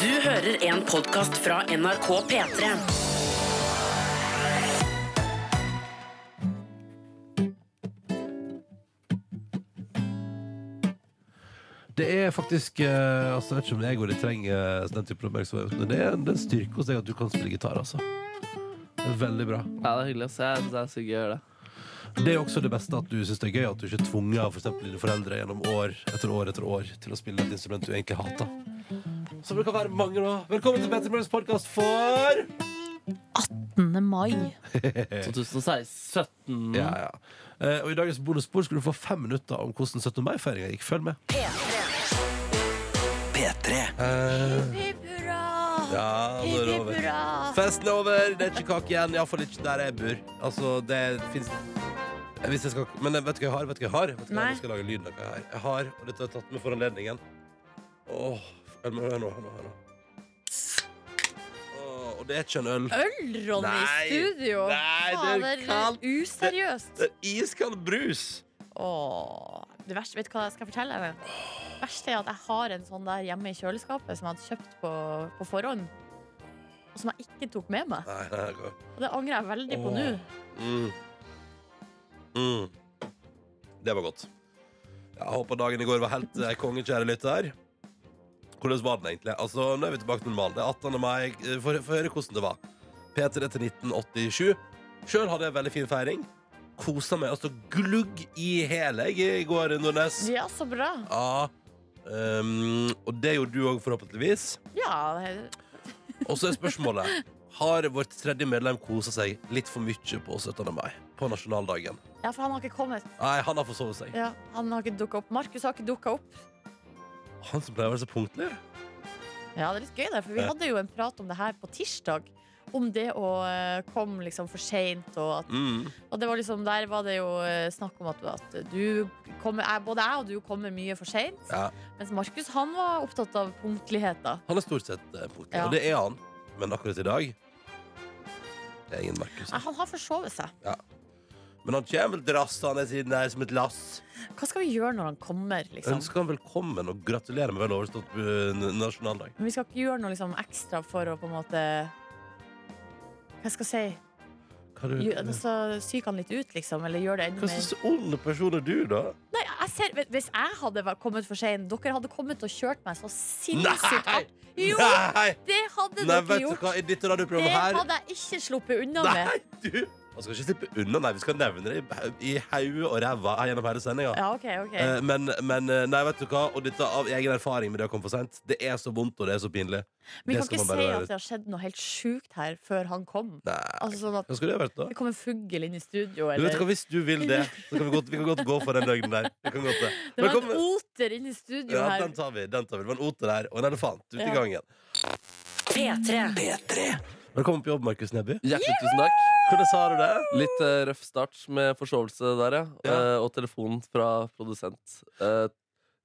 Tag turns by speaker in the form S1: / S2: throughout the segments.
S1: Du hører en podcast fra NRK P3.
S2: Det er faktisk eh, altså, Jeg vet ikke om jeg går i treng eh, den typen oppmerksomhet, men det er, det er en styrke hos deg at du kan spille gitar, altså. Det er veldig bra.
S3: Ja, det er hyggelig. ass. Jeg synes det er så gøy å gjøre det.
S2: Det er også det beste at du syns det er gøy, at du ikke er tvunget av for eksempel dine foreldre gjennom år etter år etter år til å spille et instrument du egentlig hater. Som det kan være mange nå. Velkommen til Petter Møllers podkast for
S4: 18. mai.
S3: 2016. 17.
S2: Ja, ja. Eh, og I dagens bonusspor skal du få fem minutter om hvordan 17. mai-feiringa gikk. Følg med. Eh, ja, nå er det over. Festen er over, det er ikke kake igjen. Iallfall ikke der jeg bor. Altså, det fins hvis jeg skal, Men vet du hva jeg har? Vet du hva jeg har? Vet du hva
S1: Nei.
S2: jeg skal lage lyden av hva jeg har? Jeg har, og dette har jeg tatt med for anledningen Åh, hør nå, hør nå, hør nå, hør nå. Åh, Og det er ikke en øl.
S4: Øl, Ronny,
S2: Nei.
S4: i studio!
S2: Nei, det er
S4: Fader,
S2: kaldt.
S4: Useriøst.
S2: Det er iskald brus.
S4: Åh, det verste, vet du hva jeg skal fortelle deg? Det verste er at jeg har en sånn der hjemme i kjøleskapet som jeg hadde kjøpt på, på forhånd. Og som jeg ikke tok med meg.
S2: Nei, nei, det går.
S4: Og det angrer jeg veldig på
S2: Åh.
S4: nå.
S2: Mm. Mm. Det var godt. Jeg håper dagen i går var helt eh, konge, kjære lytter. Hvordan var den egentlig? Altså, Nå er vi tilbake til normalen. Det er 18. mai. Eh, Få få høre hvordan det var. P3 til 1987. Sjøl hadde jeg en veldig fin feiring. Kosa meg altså glugg i hæl jeg, i går, Nordnes.
S4: Ja, så bra.
S2: Ja. Um, og det gjorde du òg, forhåpentligvis.
S4: Ja, det-
S2: Og så er spørsmålet Har vårt tredje medlem kosa seg litt for mye på 17. mai? På nasjonaldagen?
S4: ja, for han har ikke kommet.
S2: Nei, han har forsovet seg.
S4: Ja, han har ikke dukket opp. Markus har ikke dukket opp.
S2: Han som pleier å være så punktlig.
S4: Ja, det er litt gøy det, for vi
S2: Ja.
S4: hadde jo en prat om det her på tirsdag. Om det å eh, komme liksom for sent og at
S2: Mm.
S4: Og det var liksom, der var det jo eh, snakk om at, at du kommer, jeg- både jeg og du kommer mye for seint.
S2: Ja.
S4: Mens Markus han var opptatt av punktlighet. da
S2: Han er stort sett eh, punktlig,
S4: Ja.
S2: og det er han. Men akkurat i dag Det er ingen Markus.
S4: Nei, Han har forsovet seg.
S2: Men han kommer vel drassende siden her som et lass.
S4: Hva skal vi gjøre når han kommer? liksom?
S2: Ønsker han velkommen og gratulerer med vel overstått eh, n- nasjonaldag.
S4: Men vi skal ikke gjøre noe liksom, ekstra for å på en måte Hva skal jeg si?
S2: Hva er
S4: Gjø-
S2: du-
S4: Altså, Psyke han litt ut, liksom? Eller gjøre det enda
S2: Hva
S4: mer
S2: slags ond person er du, da?
S4: Nei, jeg ser, Hvis jeg hadde vært- kommet for seint, dere hadde kommet og kjørt meg så sinnssykt
S2: Nei!
S4: hardt. Jo,
S2: Nei!
S4: det hadde
S2: Nei,
S4: dere
S2: vet du
S4: gjort!
S2: hva, i dette
S4: Det
S2: radioprogrammet her
S4: hadde jeg ikke sluppet unna med.
S2: Nei, du! Man skal ikke slippe unna, nei. Vi skal nevne det i- i hauet og ræva gjennom hele sendinga.
S4: Ja, ok, ok
S2: Eh, Men, men eh, nei, vet du hva? Og dette av egen erfaring med det å komme for sent. Det er så vondt, og det er så pinlig.
S4: Vi
S2: det
S4: kan
S2: skal
S4: ikke
S2: man bare
S4: si
S2: være
S4: at det har skjedd noe helt sjukt her før han kom.
S2: Nei.
S4: Altså sånn at
S2: Hva skulle det vært, da?
S4: Det kom en fugl inn i studio,
S2: Du vet
S4: eller
S2: hva, Hvis du vil det, så kan vi godt, vi kan godt gå for den løgnen der. Vi kan godt det.
S4: Det var en
S2: Velkommen.
S4: oter inn i studio
S2: Ja,
S4: her.
S2: den tar vi. den tar vi Det var en oter der, og en elefant ute i
S4: Ja.
S2: gangen.
S1: P3.
S2: Velkommen på jobb, Markus Neby.
S3: Hjertelig tusen takk.
S2: Hvordan sa du det?
S3: Litt eh, røff start med forsovelse der, ja.
S2: Ja.
S3: Eh, og telefonen fra produsent. Eh,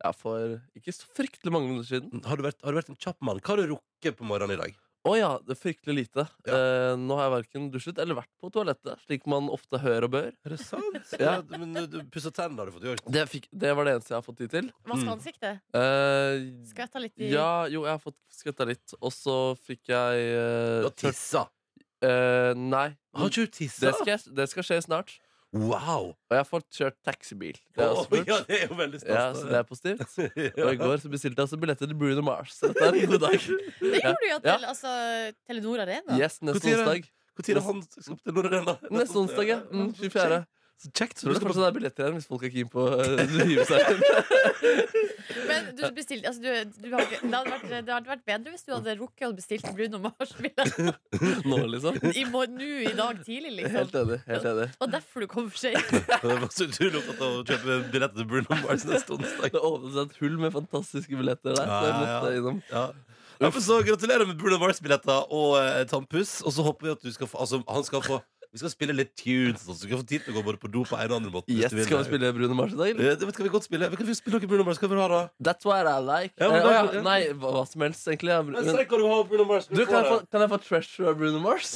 S3: ja, for ikke så fryktelig mange minutter siden.
S2: Har du vært, har du vært en kjapp mann? Hva har du rukket på morgenen i dag?
S3: Å ja, det er fryktelig lite.
S2: Ja.
S3: Eh, nå har jeg verken dusjet eller vært på toalettet, slik man ofte hører og bør.
S2: Er det sant?
S3: Ja.
S2: Men du, du pusser tennene, har du fått gjort.
S3: Det, fikk, det var det eneste jeg har fått tid til.
S4: Vaske
S2: Mm.
S4: ansiktet.
S3: Eh,
S4: Skvetta litt i
S3: ja, jo, jeg har fått skvetta litt, og så fikk jeg eh,
S2: Du har tissa.
S3: kjørt- eh, Nei.
S2: Har ikke du
S3: Det
S2: tissa?
S3: skal, jeg- det skal skje snart.
S2: Wow!
S3: Og jeg har fått kjørt taxibil. Det er også
S2: Å, ja,
S3: lurt.
S2: det er jo veldig
S3: Ja,
S2: stas.
S3: så det er positivt. Og i
S2: Ja.
S3: går så bestilte jeg også billetter til Bruno Mars. Så dette er en god dag.
S4: Det gjorde du jo til
S3: Ja.
S4: altså, Telenor Arena.
S3: Yes, neste
S2: Hvor tid er Når er det
S3: onsdag.
S2: han skal opp til Nord-Arena?
S3: Neste onsdag, ja. Mm, 24.
S2: Så kjekt.
S3: Tror du kanskje det er billetter igjen hvis folk er keen på eh, å hive seg.
S4: Men du bestilte altså, du, du har, ikke- det, hadde vært, det hadde vært bedre hvis du hadde rukket å bestille Bruno Mars-billett
S3: Nå, liksom.
S4: i mor- nå i dag tidlig, liksom.
S3: Helt enig. helt enig
S4: Det var derfor du kom for seint.
S2: Det var så utrolig opptatt av å kjøpe billetter til Bruno Mars neste onsdag.
S3: Det åpnet seg et hull med fantastiske billetter der.
S2: Ja,
S3: Så jeg
S2: ja,
S3: måtte
S2: ja.
S3: innom
S2: Ja. Ja, men så gratulerer med Bruno Mars-billetter og eh, tannpuss. Og så håper vi at du skal få, altså, han skal få Vi skal spille litt tunes, og så du skal få tid til å gå både på do på en og andre måte. hvis
S3: Yes,
S2: du vil.
S3: Skal vi spille Bruno Mars i dag? eller?
S2: Eh, Det kan vi godt spille. Vi kan vi spille noe Bruno Mars. Hva vil du ha, da?
S3: That's what I like.
S2: Ja, men
S3: Eh,
S2: da-
S3: å ja, nei, hva, hva som helst, egentlig. Ja,
S2: Men,
S3: Men,
S2: kan du ha Bruno Mars?
S3: du, kan jeg, få, kan jeg få Treasure av Bruno Mars?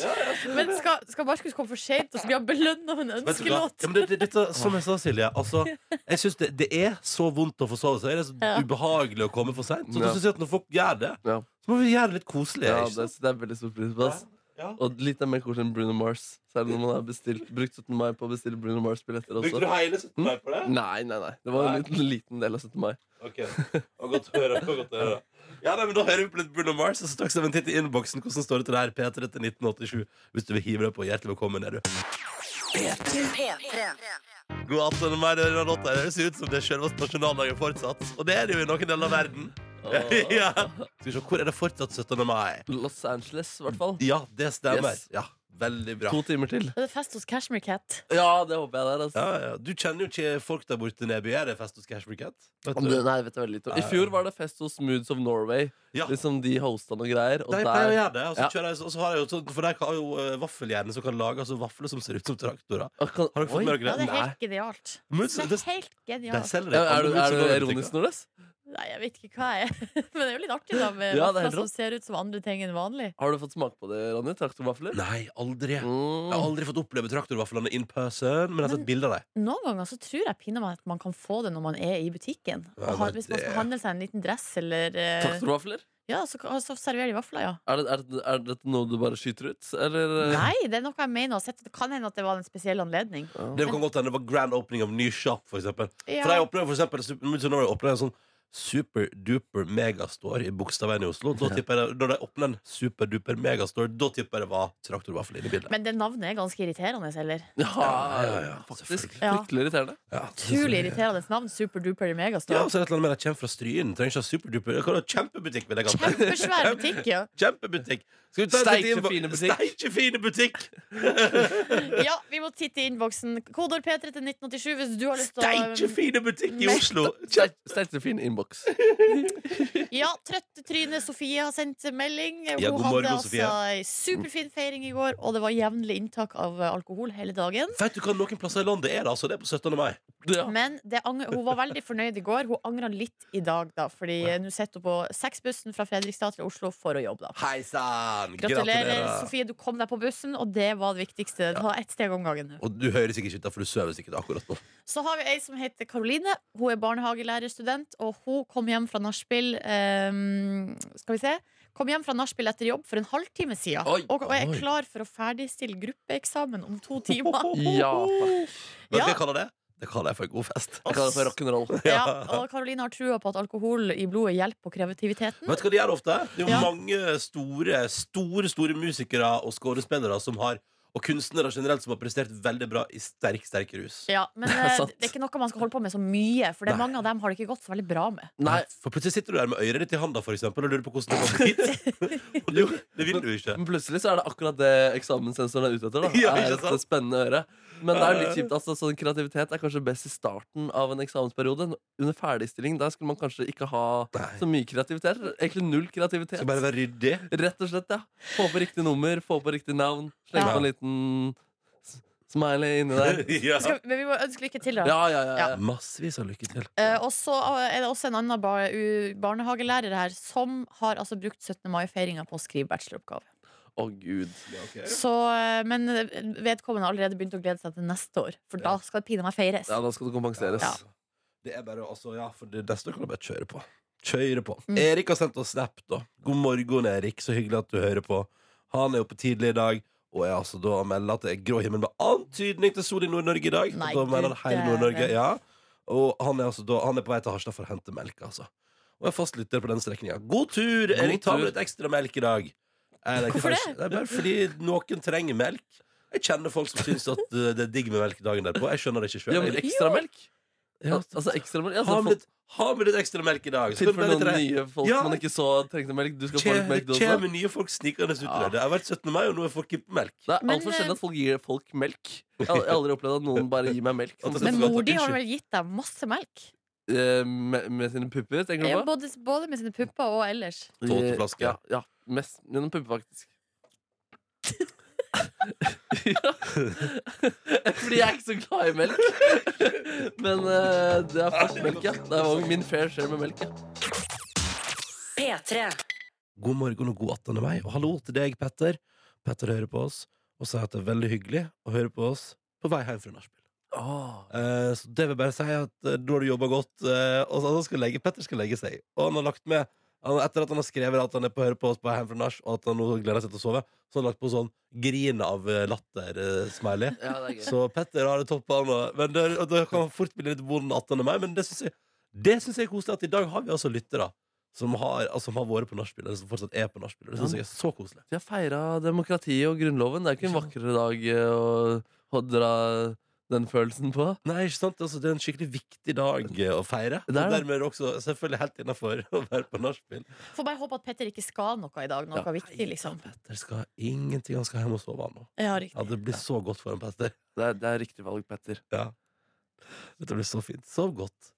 S4: Men skal, skal Markus komme for seint, og så blir han belønna med en
S2: Vet du hva?
S4: ønskelåt?
S2: Ja, men det, det, dette, som jeg sa, Silje. Altså, jeg synes det, det er så vondt å forsove seg. Det er så
S4: Ja.
S2: ubehagelig å komme for seint. Så da
S3: Ja.
S2: synes jeg at når folk gjør det,
S3: Ja.
S2: Så må vi gjøre det litt koselig.
S3: Ja,
S2: ikke
S3: det,
S2: sant?
S3: det er veldig stor pris på ass.
S2: Ja.
S3: Og litt er mer koselig enn Bruno Mars. Særlig når man har bestilt, brukt 17. mai på å bestille Bruno Mars-billetter
S2: Brukte
S3: også.
S2: du hele 17. mai på det?
S3: Nei, nei, nei. Det var en
S2: Nei.
S3: liten, liten del av 17. mai.
S2: Ok, det var godt å høre. det var Godt å høre. Ja, nei, men Da hører vi på litt Bruno Mars, og så tar vi oss en titt i innboksen. Hvordan står det til der, P3 til 1987? Hvis du vil hive deg på, hjertelig velkommen. er du
S1: P3.
S2: God 18. mai, det er denne låta. Det ser ut som det er selveste nasjonaldagen fortsatt. Og det er det jo i noen deler av verden.
S3: Åh.
S2: ja. Skal vi se, Hvor er det fortsatt 17. mai?
S3: Los Angeles, i hvert fall.
S2: Ja, det stemmer.
S3: Yes.
S2: Ja, Veldig bra.
S3: To timer til.
S4: Det er fest hos Cashmere Cat.
S3: Ja, det håper jeg det er. Altså.
S2: Ja, ja. Du kjenner jo ikke folk der borte nedby. Er det fest hos Cashmere Cat? Vet
S3: Om
S2: du?
S3: det, nei, vet jeg veldig lite om. I fjor var det fest hos Moods of Norway.
S2: Ja.
S3: Liksom De hosta noe greier. Og
S2: De pleier å
S3: der
S2: gjøre det. Og så,
S3: Ja.
S2: kjører jeg, og så har jeg jo sånn, For der har jo eh, vaffelhjernen som kan lage altså, vafler som ser ut som traktorer.
S3: Ah, kan,
S2: Har dere fått
S3: Oi.
S2: med
S4: Ja,
S2: dere
S4: det
S2: det?
S4: er helt genialt.
S2: Moods-
S4: Det
S2: det-
S4: er helt
S2: de
S4: genialt.
S2: selger
S3: Ja,
S2: det.
S3: er,
S2: Alle
S3: du, er
S2: Moods
S3: du
S2: og Norway-butikker.
S3: ironisk, Nordnes?
S4: Nei, jeg vet ikke hva jeg er. Men det er jo litt artig, da, med
S3: Ja, det er
S4: vafler
S3: helt
S4: som
S3: rått.
S4: ser ut som andre ting enn vanlig.
S3: Har du fått smake på det, Ronny? Traktorvafler?
S2: Nei, aldri. Jeg har
S3: Mm.
S2: aldri fått oppleve traktorvaflene in person, men jeg har
S4: Men-
S2: sett bilder av dem.
S4: Noen ganger så tror jeg pinadø at man kan få det når man er i butikken.
S2: Ja,
S4: Og har,
S2: det-
S4: hvis man skal handle seg en liten dress eller eh,
S3: Traktorvafler?
S4: Ja, så, så serverer de vafler, ja.
S3: Er, det, er, det, er dette noe du bare skyter ut? Eller
S4: Nei, det er noe jeg mener å ha sett. Det kan hende at det var en spesiell anledning.
S2: Det kan godt hende det var grand opening av ny shop, for eksempel.
S4: Ja.
S2: For jeg opplever for eksempel Sup- Moods of Norway opplever en sånn superduper megastore i Bogstadveien i Oslo. Da tipper jeg det, Når de åpner en superduper megastore, da tipper jeg det var traktorvaffel inne i bildet.
S4: Men det navnet er ganske irriterende, eller?
S3: Ja,
S2: ja, ja,
S3: faktisk.
S4: Ja.
S3: Fryktelig irriterende.
S2: Ja, det synes
S4: Utrolig
S2: jeg-
S4: irriterende navn. Superduper i
S2: Ja,
S4: megastore.
S2: og så er det et eller annet med at jeg kommer fra Stryn. Trenger ikke ha superduper. Det kan være Kjempebutikk, vil jeg kalle det.
S4: Kjempesvær butikk, ja.
S2: Kjempebutikk. Skal vi ta en
S3: Steike
S2: titt i innbo-
S3: fine butikk.
S2: Steike fine butikk.
S4: Ja, vi må titte i innboksen. Kodeord P3 til 1987 hvis du har lyst
S3: um,
S4: til
S2: Steike
S4: å
S2: fine butikk i Oslo.
S3: Sterk- Sterkt og fin innboks.
S4: Ja, trøttetryne Sofie har sendt melding. Hun
S2: Ja, god morgen,
S4: hadde
S2: Sofie.
S4: altså ei superfin feiring i går, og det var jevnlig inntak av eh, alkohol hele dagen.
S2: Vet du hva noen plasser i landet er det? Altså, det er på 17. mai.
S3: Ja.
S4: Men det, ang- hun var veldig fornøyd i går. Hun angra litt i dag, da, fordi eh, nå sitter hun på sexbussen fra Fredrikstad til Oslo for å jobbe, da.
S2: Hei sann!
S4: Gratulerer, Sofie. Du kom deg på bussen, og det var det viktigste. Ta ett steg om gangen.
S2: Og du hører sikkert ikke ut, da, for du sover sikkert akkurat nå.
S4: Så har vi ei som heter Karoline. Hun er barnehagelærerstudent, og hun kom hjem fra nachspiel ehm, Skal vi se. Kom hjem fra nachspiel etter jobb for en halvtime siden
S3: Oi,
S4: og, og er
S2: oi.
S4: klar for å ferdigstille gruppeeksamen om to timer.
S3: Ja, takk.
S2: Vet du
S4: Ja.
S2: hva jeg kaller det? Det kaller jeg for god fest.
S3: Jeg kaller det for rock'n'roll.
S4: Ja, og Karoline har trua på at alkohol i blodet hjelper på kreativiteten.
S2: Vet du hva de gjør ofte? Det er jo
S4: Ja.
S2: mange store, store store musikere og skuespillere som har og kunstnere generelt som har prestert veldig bra i sterk, sterk rus.
S4: Ja, Men
S3: Det er
S4: eh,
S3: sant.
S4: det er ikke noe man skal holde på med så mye, for det er
S2: Nei.
S4: mange av dem har det ikke gått så veldig bra med.
S3: Nei,
S2: For plutselig sitter du der med øret ditt i handa for eksempel, og lurer på hvordan det kom hit. Og du, det vil du ikke.
S3: Men plutselig så er det akkurat det eksamenssensoren er ute etter. Da.
S2: Ja,
S3: er
S2: ikke sant?
S3: et spennende øre Men det er jo litt kjipt. Altså, sånn Kreativitet er kanskje best i starten av en eksamensperiode. Under ferdigstilling der skulle man kanskje ikke ha
S2: Nei.
S3: så mye kreativitet. Egentlig null kreativitet.
S2: Skal bare være ryddig.
S3: Rett og slett, ja. Få på riktig nummer, få på riktig navn. Slenge
S4: Ja.
S3: på en liten s- smiley inni der.
S2: Ja.
S4: Skal, vi- men vi må ønske lykke til, da.
S3: Ja, ja, ja. ja.
S2: Massevis av lykke til.
S4: Eh, og så er det også en annen bar u- barnehagelærer her som har altså brukt 17. mai-feiringa på å skrive bacheloroppgave.
S3: Å, gud.
S4: Så, eh, men vedkommende har allerede begynt å glede seg til neste år, for da skal det pinadø meg feires.
S3: Ja, da skal det kompenseres.
S4: Ja.
S2: Det er bare, altså, ja, for det neste kan du bare kjøre på. Kjøre på.
S4: Mm.
S2: Erik har sendt oss snap, da. God morgen, Erik. Så hyggelig at du hører på. Han er oppe tidlig i dag, og jeg altså da melder at det er grå himmel med antydning til sol i Nord-Norge i dag.
S4: Nei,
S2: og da melder han
S4: du
S2: hele Nord-Norge.
S4: dæven.
S2: Ja. Og han er altså da Han er på vei til Harstad for å hente melk, altså. Og jeg er fastlytter på den strekninga. God tur, Erik! Ta
S3: tur.
S2: med litt ekstra melk i dag. Er
S4: Hvorfor det?
S2: kanskje- Det er bare fordi noen trenger melk. Jeg kjenner folk som syns at uh, det er digg med melk dagen derpå. Jeg skskjønner det ikke
S3: Ja,
S2: sjøl.
S3: men ekstramelk? Ja, altså ekstramelk ja,
S2: Ha
S3: altså,
S2: med, litt, ha med litt ekstra melk i dag. så
S3: Til
S2: kan
S3: for
S2: det være
S3: noen
S2: litt
S3: nye folk
S2: Ja.
S3: man ikke så trengte melk. Du skal få litt
S2: rett.
S3: melk, du
S2: Det
S3: også.
S2: kommer nye folk snikende ut i
S3: Ja.
S2: det. Det har vært 17. mai, og nå er folk gitt melk.
S3: Det er
S4: Men,
S3: altfor
S4: eh,
S3: sjelden at folk gir folk melk. Jeg har jeg har aldri opplevd at noen bare gir meg melk.
S2: At det
S3: sånn,
S4: Men
S2: så godt,
S4: mor di har
S2: unnskyld.
S4: vel gitt deg masse melk?
S3: eh, med, med sine pupper, tenker
S4: Ja,
S3: du på?
S4: Både, både med sine pupper og ellers.
S2: Tåteflaske.
S3: Ja, ja, mest gjennom pupper, faktisk. ja. Fordi jeg er ikke så glad i melk. Men eh, det er først melk, ja. Det var min fair share med melk. Ja.
S1: P3.
S2: God morgen og god 18. mai. Og hallo til deg, Petter. Petter hører på oss og sier at det er veldig hyggelig å høre på oss på vei hjem fra nachspiel. Eh, så det vil bare si at eh, da har du jobba godt, eh, og så han skal legge, Petter skal legge seg. Og han har lagt med Han, etter at han har skrevet at han er på høre på oss på Ham for Nach, og at han nå gleder seg til å sove, så har han lagt på sånn grin av eh, latter-smiley.
S3: Ja, det er gøy.
S2: Så Petter har det toppa nå. Men det, og det kan fort bli litt vond 18. mai, men det syns jeg, det synes jeg er koselig. At i dag har vi altså lyttere som har, altså, som har vært på nachspiel, eller som fortsatt er på nachspiel. Det syns jeg er så koselig.
S3: Vi har feira demokratiet og Grunnloven. Det er ikke en vakrere dag eh, å å dra den følelsen på.
S2: Nei, ikke sant? Altså, det er en skikkelig viktig dag eh, å feire. Og
S3: Det er det.
S2: dermed er det også selvfølgelig helt innafor å være på nachspiel.
S4: Får bare håpe at Petter ikke skal noe i dag. Noe
S2: Ja.
S4: viktig, liksom.
S2: Petter skal ingenting. Han skal hjem og sove han nå.
S4: Ja, riktig.
S2: Ja, det blir så godt for en Petter.
S3: Det er, det er riktig valg, Petter.
S2: Dette blir så fint. Sov godt.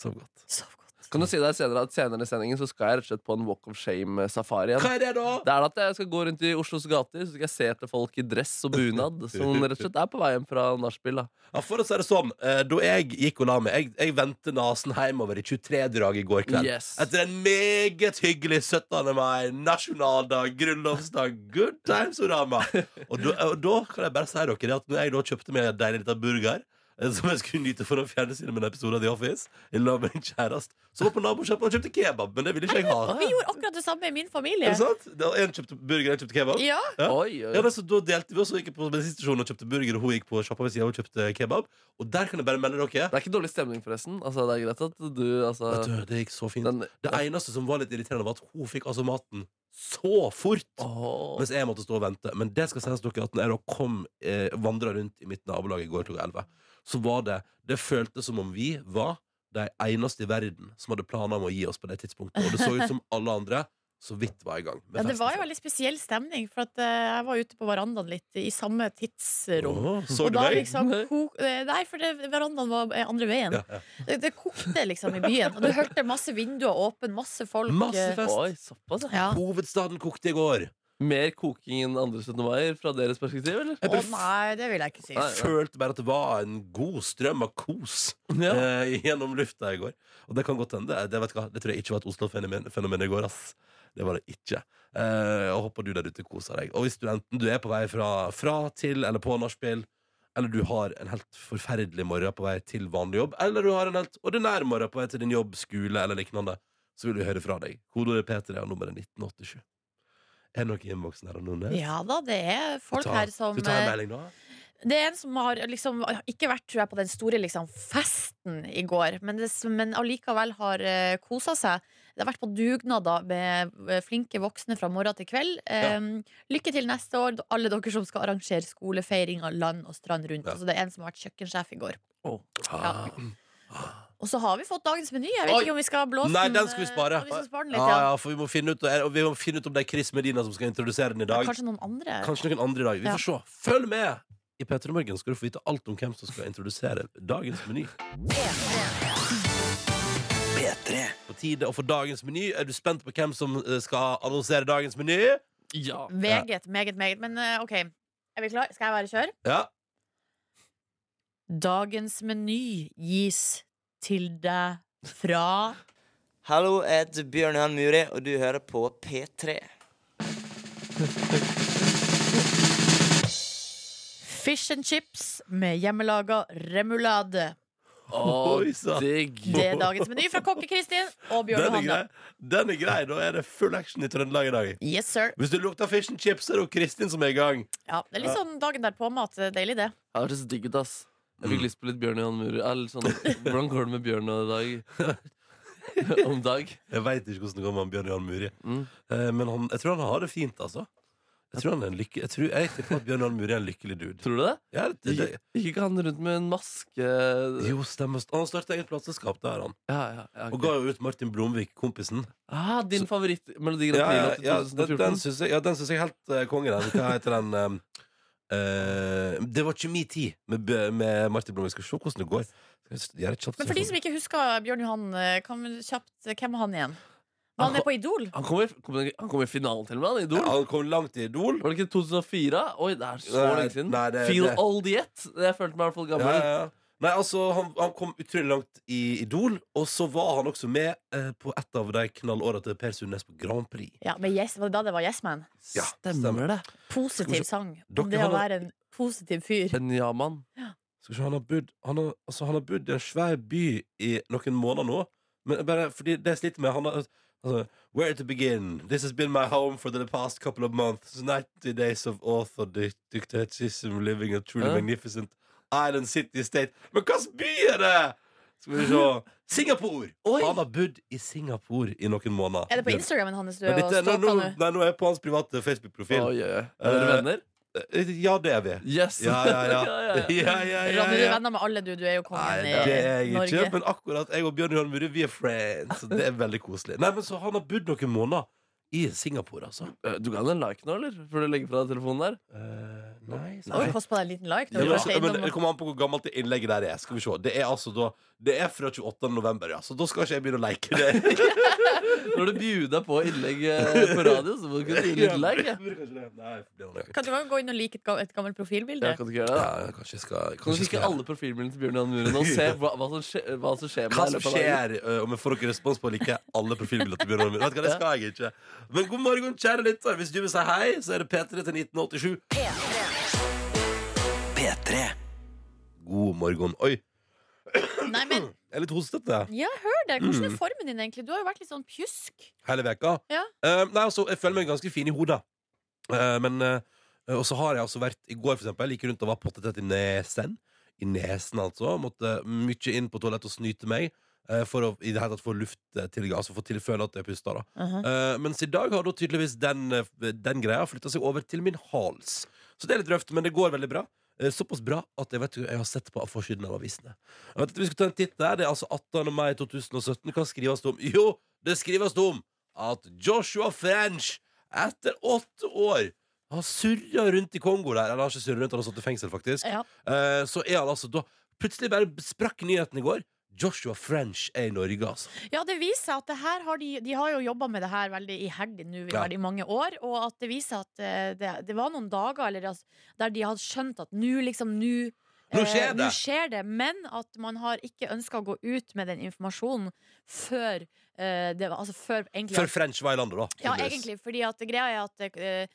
S2: Sov godt.
S4: Sov godt.
S3: Kan du si deg senere at senere i sendingen så skal jeg rett og slett på en walk of shame-safari igjen?
S2: Hva er det, da?!
S3: Det er at jeg skal gå rundt i Oslos gater Så skal jeg se etter folk i dress og bunad som rett og slett er på vei hjem fra nachspiel. da.
S2: Ja, for å si det sånn, eh, da jeg gikk og la meg Jeg, jeg vendte nesen hjemover i 23-draget i går kveld.
S3: Yes.
S2: Etter en meget hyggelig 17. mai, nasjonaldag, grunnlovsdag, good times, Orama. Og da, og da kan jeg bare si dere det at når jeg da kjøpte meg en deilig liten burger eh, som jeg skulle nyte foran fjernsynet med en episode av The Office, i lag med min kjæreste, som var på nabokjøpet og kjøpte kebab, men det ville ikke jeg ha.
S4: Vi gjorde akkurat det samme i min
S2: Er
S4: familie.
S2: det sant? Det var En kjøpte burger, en kjøpte kebab.
S4: Ja,
S2: Ja.
S3: Oi, oi.
S2: Ja, men så Da delte vi oss og gikk på bensinstasjonen og kjøpte burger, og hun gikk på sjappa ved siden og kjøpte kebab. Og der kan jeg bare melde dere
S3: Det er ikke dårlig stemning, forresten. Altså, det er greit at du altså,
S2: Vet du, det gikk så fint.
S3: den,
S2: Det eneste som var litt irriterende, var at hun fikk altså maten så fort.
S3: Åh.
S2: Mens jeg måtte stå og vente. Men det skal sies dere at når jeg da kom eh, vandra rundt i mitt nabolag i går klokka 11, så var det Det føltes som om vi var de eneste i verden som hadde planer om å gi oss på det tidspunktet. Og det så ut som alle andre så vidt var i gang. med
S4: ja, det
S2: festen
S4: var
S2: sin.
S4: jo veldig spesiell stemning, for at eh, jeg var ute på verandaen litt i samme tidsrom.
S2: Åh, så
S4: Og
S2: du
S4: da
S2: meg?
S4: liksom ko- eh, Nei, for det, verandaen var eh, andre veien.
S2: Ja, ja.
S4: Det, det kokte liksom i byen. Og du hørte masse vinduer åpne, masse folk.
S2: Masse
S4: eh,
S2: fest.
S3: Oi, såpass, ja.
S4: Ja.
S2: Hovedstaden kokte i går.
S3: Mer koking enn andre 17. mai fra deres perspektiv, eller?
S4: Å nei, det vil jeg ikke si.
S3: Nei.
S2: Følte bare at det var en god strøm av kos.
S3: Ja.
S2: eh, gjennom lufta i går. Og det kan godt hende. Det, vet du hva, det tror jeg ikke var et Oslo-fenomen fenomen i går. ass Det var det ikke. Eh, jeg håper du der ute koser deg. Og hvis du enten du er på vei fra, fra til eller på nachspiel, eller du har en helt forferdelig morgen på vei til vanlig jobb, eller du har en helt ordinær morgen på vei til din jobb, skole eller lignende, så vil vi høre fra deg. Kodeordet P3 og nummeret 1987. Er det noe i innboksen her? Anone?
S4: Ja da, det er folk
S2: Skal vi ta-
S4: her som
S2: Skal vi ta en
S4: eh,
S2: melding, da?
S4: Det er en som har liksom ikke vært tror jeg, på den store liksom, festen i går, men, det, men allikevel har uh, kosa seg. Det har vært på dugnader med eh, flinke voksne fra morgen til kveld. Eh, Lykke til neste år, alle dere som skal arrangere skolefeiringer land og strand rundt.
S2: Ja.
S4: Altså, det er en som har vært kjøkkensjef i går.
S3: Åh.
S4: Ja.
S2: Ah.
S4: Og så har vi fått dagens meny. Jeg vet
S2: Oi.
S4: ikke om vi skal blåse
S2: Nei,
S4: den,
S2: den skal vi
S4: eh,
S2: spare.
S4: om Vi skal spare den litt,
S2: Ja,
S4: ja.
S2: ja, for vi må finne ut, og vi må finne ut om det er Chris Medina som skal introdusere den i dag.
S4: Kanskje noen andre.
S2: Kanskje noen andre i dag. Vi får se. Følg med! I P3 Morgen skal du få vite alt om hvem som skal introdusere dagens meny.
S1: P3.
S2: På tide å få dagens meny. Er du spent på hvem som eh, skal annonsere dagens meny?
S3: ja.
S4: Meget, meget, meget. Men eh, OK, er vi klar? Skal jeg være kjør?
S2: Ja.
S4: Dagens meny gis til deg fra
S5: Hallo, jeg heter Bjørn Johan Muri, og du hører på P3.
S4: Fish and chips med hjemmelaga remulade.
S3: Åh,
S2: Oi, sann.
S3: digg.
S4: Det er dagens meny fra kokke-Kristin og Bjørn
S2: Den er grei.
S4: Johanne.
S2: Den er grei. Da er det full action i Trøndelag i dag.
S4: Yes, sir.
S2: Hvis du lukter fish and chips, er det jo Kristin som er i gang.
S4: Ja, det er litt sånn dagen derpå-mat. Deilig, det.
S3: Ja, det er så digg ut, ass. Jeg
S2: Mm.
S3: fikk lyst på litt Bjørn Johan Muri. Ja, litt sånn, hvordan går det med Bjørn i dag? Om dag?
S2: Jeg veit ikke hvordan det går med han Bjørn Johan Muri.
S3: Mm.
S2: Eh, Men han, jeg tror han har det fint, altså. Jeg tror han er en lykke Jeg, tror, jeg tipper at Bjørn Johan Muri er en lykkelig dude.
S3: Tror du det?
S2: Ja, det, det,
S3: Gikk gikk ikke han rundt med en maske? Ja,
S2: jo, stemmer. Han har startet eget plateselskap, det har han.
S3: ja, ja ok.
S2: Og ga jo ut Martin Blomvik, kompisen.
S3: ah, Din favoritt-Melodi Grand
S2: Ja, ja,
S3: Prix-låt i
S2: ja, den, den
S3: 2014?
S2: syns jeg, ja, den syns jeg helt uh, konge, den. Hva heter den ehm, eh, Det var ikke min tid med, Bø- med Martin Blom. Vi skal se hvordan det går. Skal jeg s- gjøre et kjapt
S4: Men for de som ikke husker Bjørn Johan, kan vi kjapt, hvem er han igjen? Var han med på Idol?
S3: Han kom, i, kom, han kom i finalen til og med, han i
S2: Ja,
S3: Idol.
S2: Han kom langt i Idol.
S3: Var det ikke 2004? Oi, det er så
S2: Nei,
S3: lenge siden.
S2: nei, det-
S3: Feel
S2: det-
S3: old yet. Jeg følte meg i hvert fall
S2: Ja,
S3: gammel.
S2: ja, ja. Nei, altså, han, han kom utrolig langt i Idol, og så var han også med eh, på et av de knallåra til Per Sundnes på Grand Prix.
S4: Ja, men yes, var det da det var Yes Man?
S2: Ja, stemmer.
S3: det?
S4: Positiv sang.
S2: Dere
S4: Om det å
S2: har-
S4: være en positiv fyr.
S3: En ja-mann.
S2: Skal vi se, han har bodd han har, altså, han har bodd i en svær by i noen måneder nå. Men bare fordi det jeg sliter med han har, Altså, Where to begin? This has been my home for the past couple of months. 90 days of author dictatism living a truly
S3: Ja.
S2: magnificent island city state. Men hvilken by er det?! Skal vi se Singapore!
S3: Oi.
S2: Han har bodd i Singapore i noen måneder.
S4: Er det på Instagramen hans du
S2: Men
S4: er og
S2: dette- nå,
S4: stalker
S2: nå,
S4: nå?
S2: nei, nå er jeg på hans private Facebook-profil.
S3: Oi, oi, oi. Er dere
S2: Eh,
S3: venner?
S2: Eh, Ja, det er vi.
S3: Yes!
S2: Ja, ja, ja.
S3: ja, ja.
S2: ja, ja, ja,
S4: Ronny, du er
S2: ja.
S4: venner med alle, du. Du er jo kongen
S2: Nei, det er
S4: i
S2: jeg
S4: Norge.
S2: ikke, men akkurat jeg og Bjørn Johan Mure, vi er friends. Så det er veldig koselig. Nei, men Så han har bodd noen måneder i Singapore, altså.
S3: Eh, Du kan en like nå, eller? Før du legger fra deg telefonen der?
S2: nei,
S4: Det kost på deg en liten like.
S2: Ja,
S4: Når du
S2: men,
S4: først er
S2: men
S4: innom
S2: Det kommer an på hvor gammelt det innlegget der er. Skal vi se. Det er altså da Det er fra 28. november, ja. Så da skal ikke jeg begynne å leke det.
S3: Når du bjuda på innlegg eh, på radio, så må du kunne gi litt like.
S2: Ja,
S3: Ja,
S4: Kan du gå inn og like et ga- et gammelt profilbilde?
S3: kan du ikke gjøre det? da?
S2: kanskje jeg skal
S3: Kan du
S2: kanskje jeg
S3: kikke
S2: skal-
S3: alle profilbildene til Bjørn Jan Muren og se hva, hva, som, skje, hva som skjer med
S2: Hva
S3: deg i
S2: som
S3: løpet av dagen?
S2: skjer ø, om jeg får noen respons på å like alle profilbilder til Bjørn Ormund? Vet du hva, Det skal jeg ikke. Men god morgen, kjære lytter. Hvis du vil si hei, så er det P3 til 1987.
S1: P3.
S2: God morgen. Oi,
S4: Nei, men
S2: jeg er litt hostete.
S4: ja, hør det. Hvordan
S2: Mm.
S4: er formen din, egentlig? Du har jo vært litt sånn pjusk.
S2: hele veka.
S4: Ja.
S2: Eh, nei, altså, jeg føler meg ganske fin i hodet. Eh, men eh, Og så har jeg altså vært I går, for eksempel, gikk jeg rundt og var pottetett i nesen. I nesen, altså. Måtte mye inn på toalettet og snyte meg. eh, For å i det hele tatt få lufttilgang, altså få tilføle at jeg puster. da Eh, Mens i dag har da tydeligvis den, eh, den greia flytta seg over til min hals. Så det er litt røft, men det går veldig bra. Eh, Såpass bra at jeg vet jo, jeg har sett på forsiden av avisene. Jeg vet at vi skal ta en titt der, Det er altså 18. mai 2017. Hva skrives det om? Jo, det skrives det om at Joshua French etter åtte år har surra rundt i Kongo der. Eller han har ikke surra rundt, han har satt i fengsel, faktisk.
S4: Ja.
S2: Eh, Så er han altså da Plutselig bare sprakk nyheten i går. Joshua French er i Norge, altså.
S4: Ja, det viser seg at det her har de, de har jo jobba med det her veldig iherdig nå i
S2: Ja.
S4: veldig mange år. Og at det viser seg at eh, det, det var noen dager eller, altså, der de hadde skjønt at nå liksom nå
S2: Nå
S4: eh,
S2: skjer det.
S4: nå skjer det, men at man har ikke ønska å gå ut med den informasjonen før eh, det var Altså før egentlig
S2: Før French var i landet, da.
S4: Ja,
S2: tydeligvis.
S4: egentlig, fordi at greia er at eh,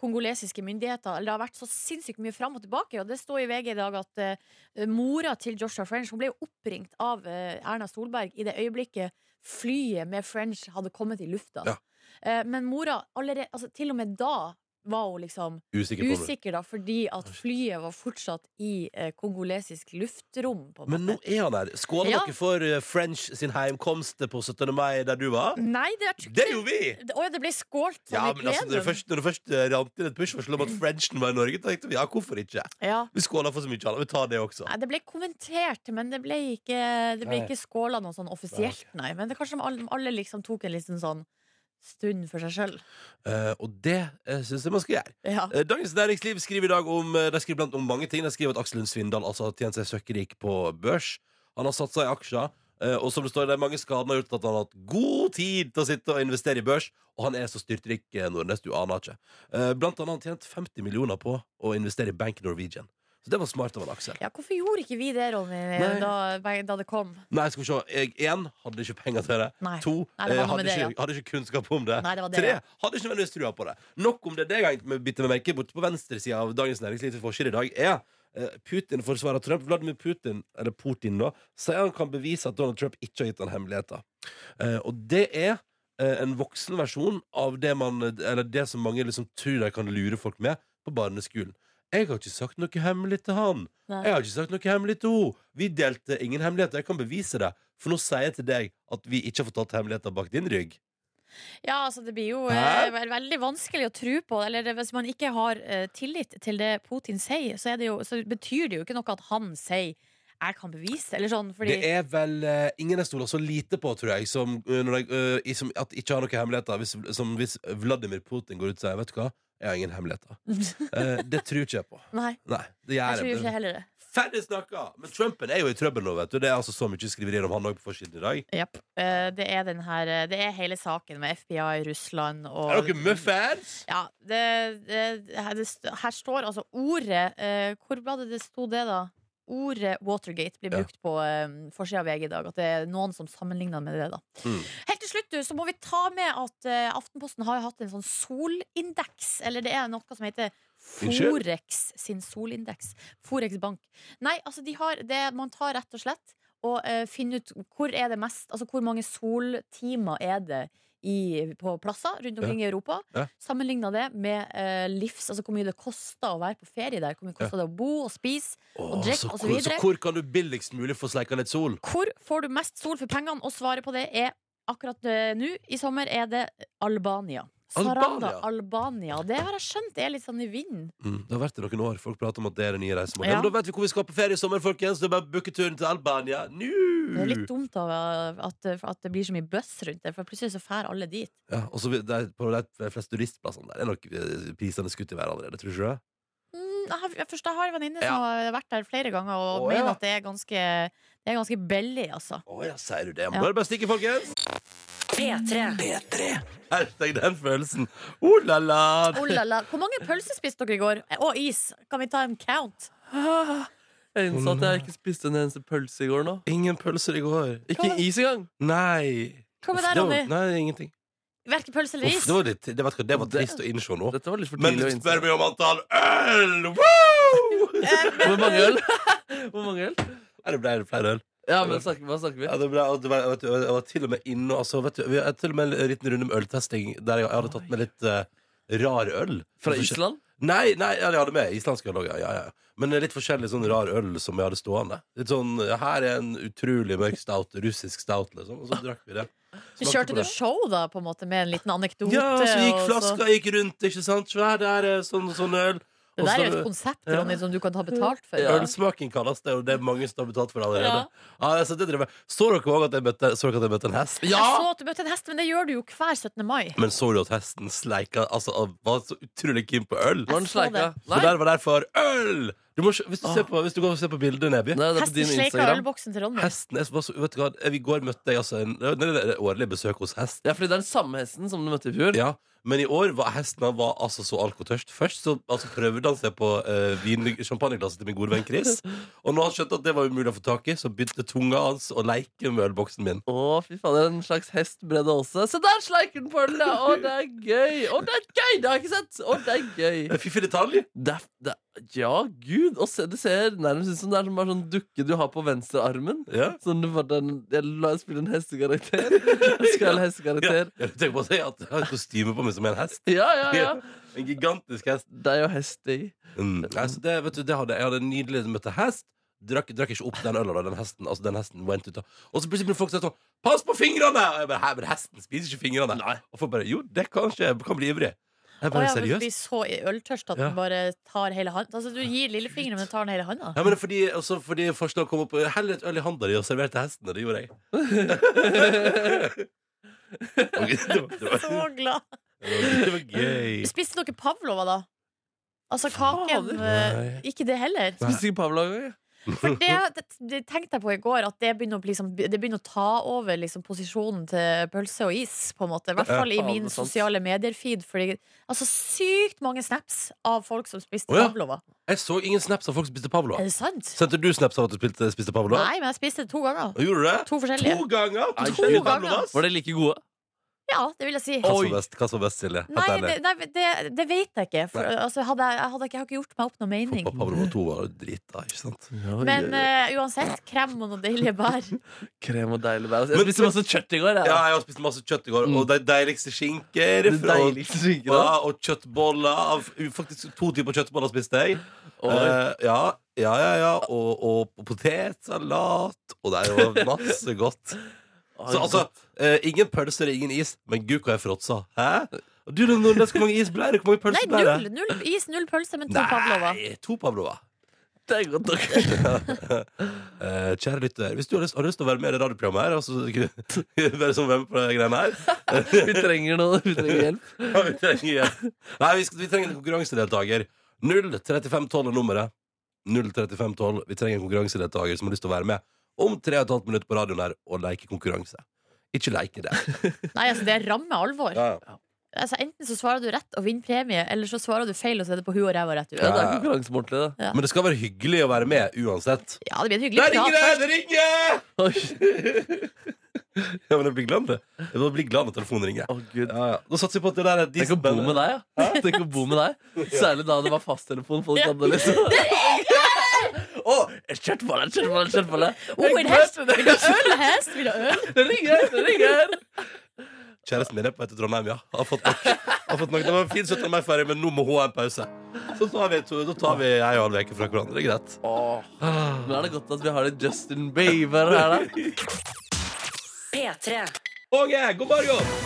S4: Kongolesiske myndigheter eller Det har vært så sinnssykt mye fram og tilbake. Og Det står i VG i dag at eh, mora til Joshua French Hun ble jo oppringt av eh, Erna Solberg i det øyeblikket flyet med French hadde kommet i lufta.
S2: Ja.
S4: Eh, men mora, allerede, altså, til og med da var hun liksom
S2: Usikker på om-
S4: usikker, da, fordi at flyet var fortsatt i eh, kongolesisk luftrom. På en
S2: Men nå
S4: måte.
S2: er han her. Skåla
S4: Ja.
S2: dere for eh, French sin heimkomst på 17. mai, der du var?
S4: Nei, det er
S2: Det gjorde vi!
S4: Å ja, det ble skålt sånn
S2: Ja,
S4: i
S2: men altså, når det
S4: plenum.
S2: først, når det først eh, rant inn et push-varsel om at Frenchen var i Norge, tenkte vi ja, hvorfor ikke?
S4: Ja.
S2: Vi skåla for så mye annet. Vi tar det også.
S4: Nei, det ble kommentert, men det ble ikke, det ble
S2: Nei.
S4: ikke skåla noe sånn offisielt, nei. Men det er kanskje om alle, alle liksom tok en liten sånn stund for seg sjøl.
S2: Eh, og det uh, syns jeg man skal gjøre.
S4: Ja.
S2: Eh, Dagens Næringsliv skriver i dag om, eh, de skriver blant om mange ting. De skriver at Aksel Lund Svindal altså, har tjent seg søkkrik på børs. Han har satsa i aksjer. eh, Og som det står, det er mange skader har gjort at han har hatt god tid til å sitte og investere i børs. Og han er så styrtrik, eh, Nordnes, du aner ikke. Eh, Blant annet har han tjent 50 millioner på å investere i Bank Norwegian. Så det var smart av han, Aksel.
S4: ja, hvorfor gjorde ikke vi det, Ronny,
S2: Nei.
S4: da, da det kom?
S2: Nei, skal vi se. Jeg én hadde ikke penger til det.
S4: Nei.
S2: To
S4: Nei, det var
S2: eh,
S4: noe
S2: hadde,
S4: med det,
S2: ikke, hadde ikke kunnskap om det.
S4: Nei, det var det,
S2: Tre
S4: ja.
S2: hadde ikke nødvendigvis trua på det. Nok om det. Det jeg har hengt meg- bitt meg merke borte på venstresida av Dagens Næringsliv til forskjell i dag, er eh, Putin forsvarer Trump. Vladimir Putin, eller Putin da, sier han kan bevise at Donald Trump ikke har gitt han hemmeligheter. Eh, og det er eh, en voksen versjon av det, man, eller det som mange liksom tror de kan lure folk med på barneskolen. Jeg har ikke sagt noe hemmelig til han.
S4: Nei.
S2: Jeg har ikke sagt noe hemmelig til henne. Vi delte ingen hemmeligheter. Jeg kan bevise det. For nå sier jeg til deg at vi ikke har fortalt hemmeligheter bak din rygg.
S4: Ja, altså Det blir jo eh,
S2: Hæ?
S4: vel- veldig vanskelig å tro på. Eller det- Hvis man ikke har eh, tillit til det Putin sier, så, er det jo, så betyr det jo ikke noe at han sier 'jeg kan bevise'. det», Eller sånn, fordi
S2: Det er vel eh, ingen jeg stoler så lite på, tror jeg, som, eh, når jeg eh, i- som at ikke har noen hemmeligheter. Hvis, som hvis Vladimir Putin går ut og sier 'Vet du hva, jeg har ingen hemmeligheter'. Eh, det tror ikke jeg på.
S4: Nei,
S2: Nei, det
S4: jeg
S2: gjør
S4: tror
S2: jeg
S4: ikke
S2: ikke.
S4: heller det.
S2: Ferdig snakka! Men Trumpen er jo i trøbbel nå, vet du. Det er altså så mye skriverier om han òg på forsiden i dag.
S4: Japp. Eh, Det er, den her, eh, det er hele saken med FBI, Russland og
S2: Er dere muffins?
S4: Ja, det, det, her, det, st- her står altså ordet eh, Hvor var det det sto det, da? Ordet Watergate blir
S2: Ja.
S4: brukt på eh, forsida av VG i dag. At det er noen som sammenligner med det. da
S2: Mm.
S4: Helt til slutt du, så må vi ta med at eh, Aftenposten har jo hatt en sånn solindeks. Eller det er noe som heter
S2: Unnskyld?
S4: Forex sin solindeks. Forex Bank. Nei, altså de har det man tar rett og slett og eh, finne ut hvor er det mest Altså hvor mange soltimer er det i, på plasser rundt omkring i Europa.
S2: Ja.
S4: Sammenligna det med eh, livs, altså hvor mye det kosta å være på ferie der. Hvor mye kosta det å bo og spise og
S2: Åh,
S4: drikke
S2: så,
S4: osv.
S2: hvor, så hvor kan du billigst mulig få sleika litt sol?
S4: Hvor får du mest sol for pengene? Og svaret på det er akkurat eh, nå i sommer er det Albania. Saranda,
S2: Albania?
S4: Albania. Det har jeg skjønt er litt sånn i vinden.
S2: Mm, det har vært det noen år. Folk prater om at det er den nye reisemåten.
S4: Ja.
S2: Ja. Men da vet vi hvor vi skal på ferie i sommer, folkens. Det er bare å booke turen til Albania nå!
S4: Det er
S2: Mm.
S4: litt dumt av at, at det blir så mye bøss rundt det, for plutselig så fær alle dit.
S2: Ja, og så vil- der, på de fleste turistplassene der er nok eh, prisene skutt i været allerede, tror du ikke det?
S4: Mm, jeg har- jeg forstår, jeg har en venninne som
S2: Ja.
S4: har vært der flere ganger og
S2: Å,
S4: mener
S2: ja.
S4: at det er ganske, det er ganske billig, altså.
S2: Å ja, sier du det?
S4: Ja.
S2: Må bare stikke, folkens!
S1: P3.
S2: Hashtag den følelsen. Oh la la!
S4: Oh, la, la. Hvor mange pølser spiste dere i går? Eh, Og is. Kan vi ta en count?
S3: Ah, Jeg innså at jeg ikke spiste en eneste pølse i går nå.
S2: Ingen pølser i går.
S3: Ikke is engang!
S2: Nei.
S4: Hva med
S2: Uff, det
S4: deg,
S2: var-
S4: Ronny?
S2: Nei, ingenting.
S4: Verken pølse eller
S2: Uff,
S4: is?
S2: det, var litt, det, vet du hva, det var trist å innse nå.
S3: Dette var litt for
S2: Men
S3: tidlig å
S2: spør
S3: innse.
S2: meg om antall øl! Woo!
S3: Hvor mange øl? Hvor mange øl?
S2: Nei, det ble flere øl.
S3: Ja, men snakker, Hva snakker vi?
S2: Ja, det ble, og det var, vet du, jeg var til og med inne og altså, vet du, Vi hadde til og med en liten runde med øltesting der jeg, jeg hadde tatt med litt eh, rar øl.
S3: Fra
S2: Forskjell-
S3: Island?
S2: Nei, nei, ja, jeg hadde med islandsk øl òg, ja, ja, ja. Men litt forskjellig sånn rar øl som jeg hadde stående. Litt sånn, Her er en utrolig mørk stout, russisk stout, liksom. Og så drakk vi det.
S4: Men Kjørte du show, da, på en måte, med en liten anekdote?
S2: Ja, så gikk
S4: og så-
S2: flaska gikk rundt, ikke sant. Svær der, eh, sånn, sånn øl.
S4: Det
S2: Og
S4: der er jo
S2: så-
S4: et konsept
S2: Ja.
S4: Ronny, som du kan ta betalt for.
S3: Ja.
S2: Ølsmaking kalles det, og det er mange som har betalt for det
S4: Ja.
S2: allerede. Ja. altså, jeg satt og drev med- så dere òg at, jeg møtte- så dere at jeg møtte en hest?
S4: Jeg så at du møtte en hest, men det gjør du jo hver 17. mai.
S2: Men så du at hesten sleika Altså, han var så utrolig keen på øl?
S3: Var den
S4: så det.
S3: sleika?
S2: Så der var derfor øl! Du må, ikke- hvis, du ser på, hvis du går og ser på bildet, Neby
S3: Ah. Nei, det er på
S4: Hesten
S3: din
S4: sleika
S3: Instagram.
S4: ølboksen til Ronny.
S2: Hesten er så bare så, vet du hva, I går møtte jeg altså en, det er det årlig besøk hos hest.
S3: Ja, fordi det er den samme hesten som du møtte i fjor.
S2: Ja, Men i år var hesten han var altså så alkotørst. Først så altså, prøvde han seg på eh, vin- champagneglasset til min gode venn Chris. Og når han skjønte at det var umulig å få tak i, så begynte tunga hans å leke med ølboksen min.
S3: Å, fy faen, det er en slags hestbredde også. Se der sleiker den på ølen! ja. Å, det er gøy! Å, det er gøy! Det har jeg ikke sett! Å, det er gøy!
S2: Eh, Fiffig detalj!
S3: Det er, det er, ja, gud! Og se, det ser nærmest ut som det er som bare sånn dukke du har på venstrearmen.
S2: Ja.
S3: Sånn du bare den, Jeg la- spiller en hestekarakter. Jeg skal ha en
S2: Ja,
S3: hestekarakter.
S2: jeg tenkte på å si at jeg har et kostyme på meg som en hest.
S3: Ja, ja, ja.
S2: En gigantisk hest.
S3: Det er jo hest i.
S2: Mm. Nei, så det, vet du, det hadde, jeg hadde en nydelig møte hest. Drakk, drakk ikke opp den øla da. Den hesten, altså, den hesten went ut av Og så plutselig begynner folk å si sånn Pass på fingrene! Og jeg bare, Hæ, men hesten spiser ikke fingrene. Og folk bare Jo, det kan skje. Jeg kan bli ivrig. Jeg
S4: Å
S2: bare
S4: ja, for du
S2: seriøst.
S4: blir så i- øltørst at
S2: Ja.
S4: du bare tar hele handa. Altså, du gir lillefingeren, men tar den hele handa.
S2: Ja, men det er fordi, også fordi forslag kom opp Hell litt øl i handa di og server til hesten. og Det gjorde jeg. Ok, det, var, det, var, det,
S4: Så glad.
S2: var, det var gøy.
S4: Spiste dere pavlova, da? Altså kaken
S2: Nei.
S4: eh, Ikke det heller.
S3: Spiste ikke Pavla engang. jeg.
S4: For det, det, det tenkte jeg på i går, at det begynner å, bli liksom, det begynner å ta over liksom, posisjonen til pølse og is, på en måte. I hvert
S2: Ja,
S4: fall i
S3: faen, det er
S4: min
S3: sant.
S4: sosiale medier-feed. Fordi altså, sykt mange snaps av folk som spiste
S2: Å, ja.
S4: pavlova.
S2: Jeg så ingen snaps av folk som spiste pavlova.
S4: Er det sant?
S2: Sendte du snaps av at du spilte, spiste pavlova?
S4: Nei, men jeg spiste det to ganger.
S2: Gjorde du det?
S4: To forskjellige.
S2: To ganger?
S3: Nei,
S2: To
S3: shit.
S2: pavlovas?
S3: Var de like gode?
S4: Ja, det vil jeg si. Altså,
S2: Hva
S3: Oi.
S2: som er best, hva som er best Silje?
S4: Nei,
S2: At den
S4: det,
S2: er-
S4: nei, det, det vet jeg ikke. For, altså, hadde jeg, jeg, hadde ikke, jeg har ikke gjort meg opp noen mening.
S2: Pappa Pablo 2 var jo drita, ikke sant?
S4: Men eh, uansett, krem og noen deilige bær.
S3: Krem og deilig bær. Jeg
S2: Men-
S3: spiste masse kjøtt i går.
S2: Ja,
S3: Jeg, da.
S2: jeg har spist masse kjøtt i går,
S3: Mm.
S2: og de deiligste skinker
S3: Den
S2: fra-
S3: deiligste skinken, da.
S2: Ja, og kjøttboller. av- Faktisk to typer kjøttboller spiste jeg.
S3: Oi.
S2: Eh, ja, ja, ja, ja. Og, og, potetsalat. Og det er jo masse godt. Så altså, eh, ingen pølser, ingen is, men gud, hva jeg fråtsa. Hæ? Og Du, Nordnes, hvor mange is ble det? Hvor mange pølser
S4: Nei,
S2: ble
S4: null,
S2: det?
S4: null is, null pølse, men to pavlova.
S2: Nei, to pavlova.
S3: det er godt nok.
S2: Eh, kjære lytter, hvis du har lyst, har lyst til å være med i det radioprogrammet her, altså, være som hvem på det greiene her
S3: Vi trenger noe. Vi trenger hjelp.
S2: ja, vi, trenger, hjelp. Nei, vi, skal, vi trenger en konkurransedeltaker. 03512 er nummeret. 03512. Vi trenger en konkurransedeltaker som har lyst til å være med om 3 15 minutter på radioen her og leke konkurranse. Ikke leke det.
S4: Nei, altså, det rammer alvor.
S2: Ja, ja.
S4: Altså, enten så svarer du rett og vinner premie, eller så svarer du feil og så er det på huet og ræva rett ut.
S3: Ja, det er konkurransemortlig, det.
S2: Men det skal være hyggelig å være med uansett.
S4: Ja, det blir en hyggelig
S2: Der ringer
S4: prat.
S2: det! Det ringer!
S3: Oi.
S2: Ja, men jeg blir glad om det. Jeg bare blir glad når telefonen ringer.
S3: Å, Gud.
S2: Ja, ja. Da satser vi på at det der er
S3: Tenk å bo med deg, ja. Tenk å bo med deg Særlig da det var fasttelefon. Folk hadde liksom Å, et kjøttbolle, et kjøttbolle, et kjøttbolle.
S4: Oh, en hest! Vil du ha øl, hest? Vil du ha øl?
S3: Det ringer, det ringer.
S2: Kjæresten min er på vei til Trondheim, ja. Har fått nok. Har fått nok. Det var fint 17. mai-ferie, men nå må hun ha en pause. Så tar vi, to, da tar vi ei og en halv uke fra hverandre. Det er Greit.
S3: Åh. Men er det godt at vi har litt Justin Bieber her, da?
S1: P3.
S2: Åge, god morgen!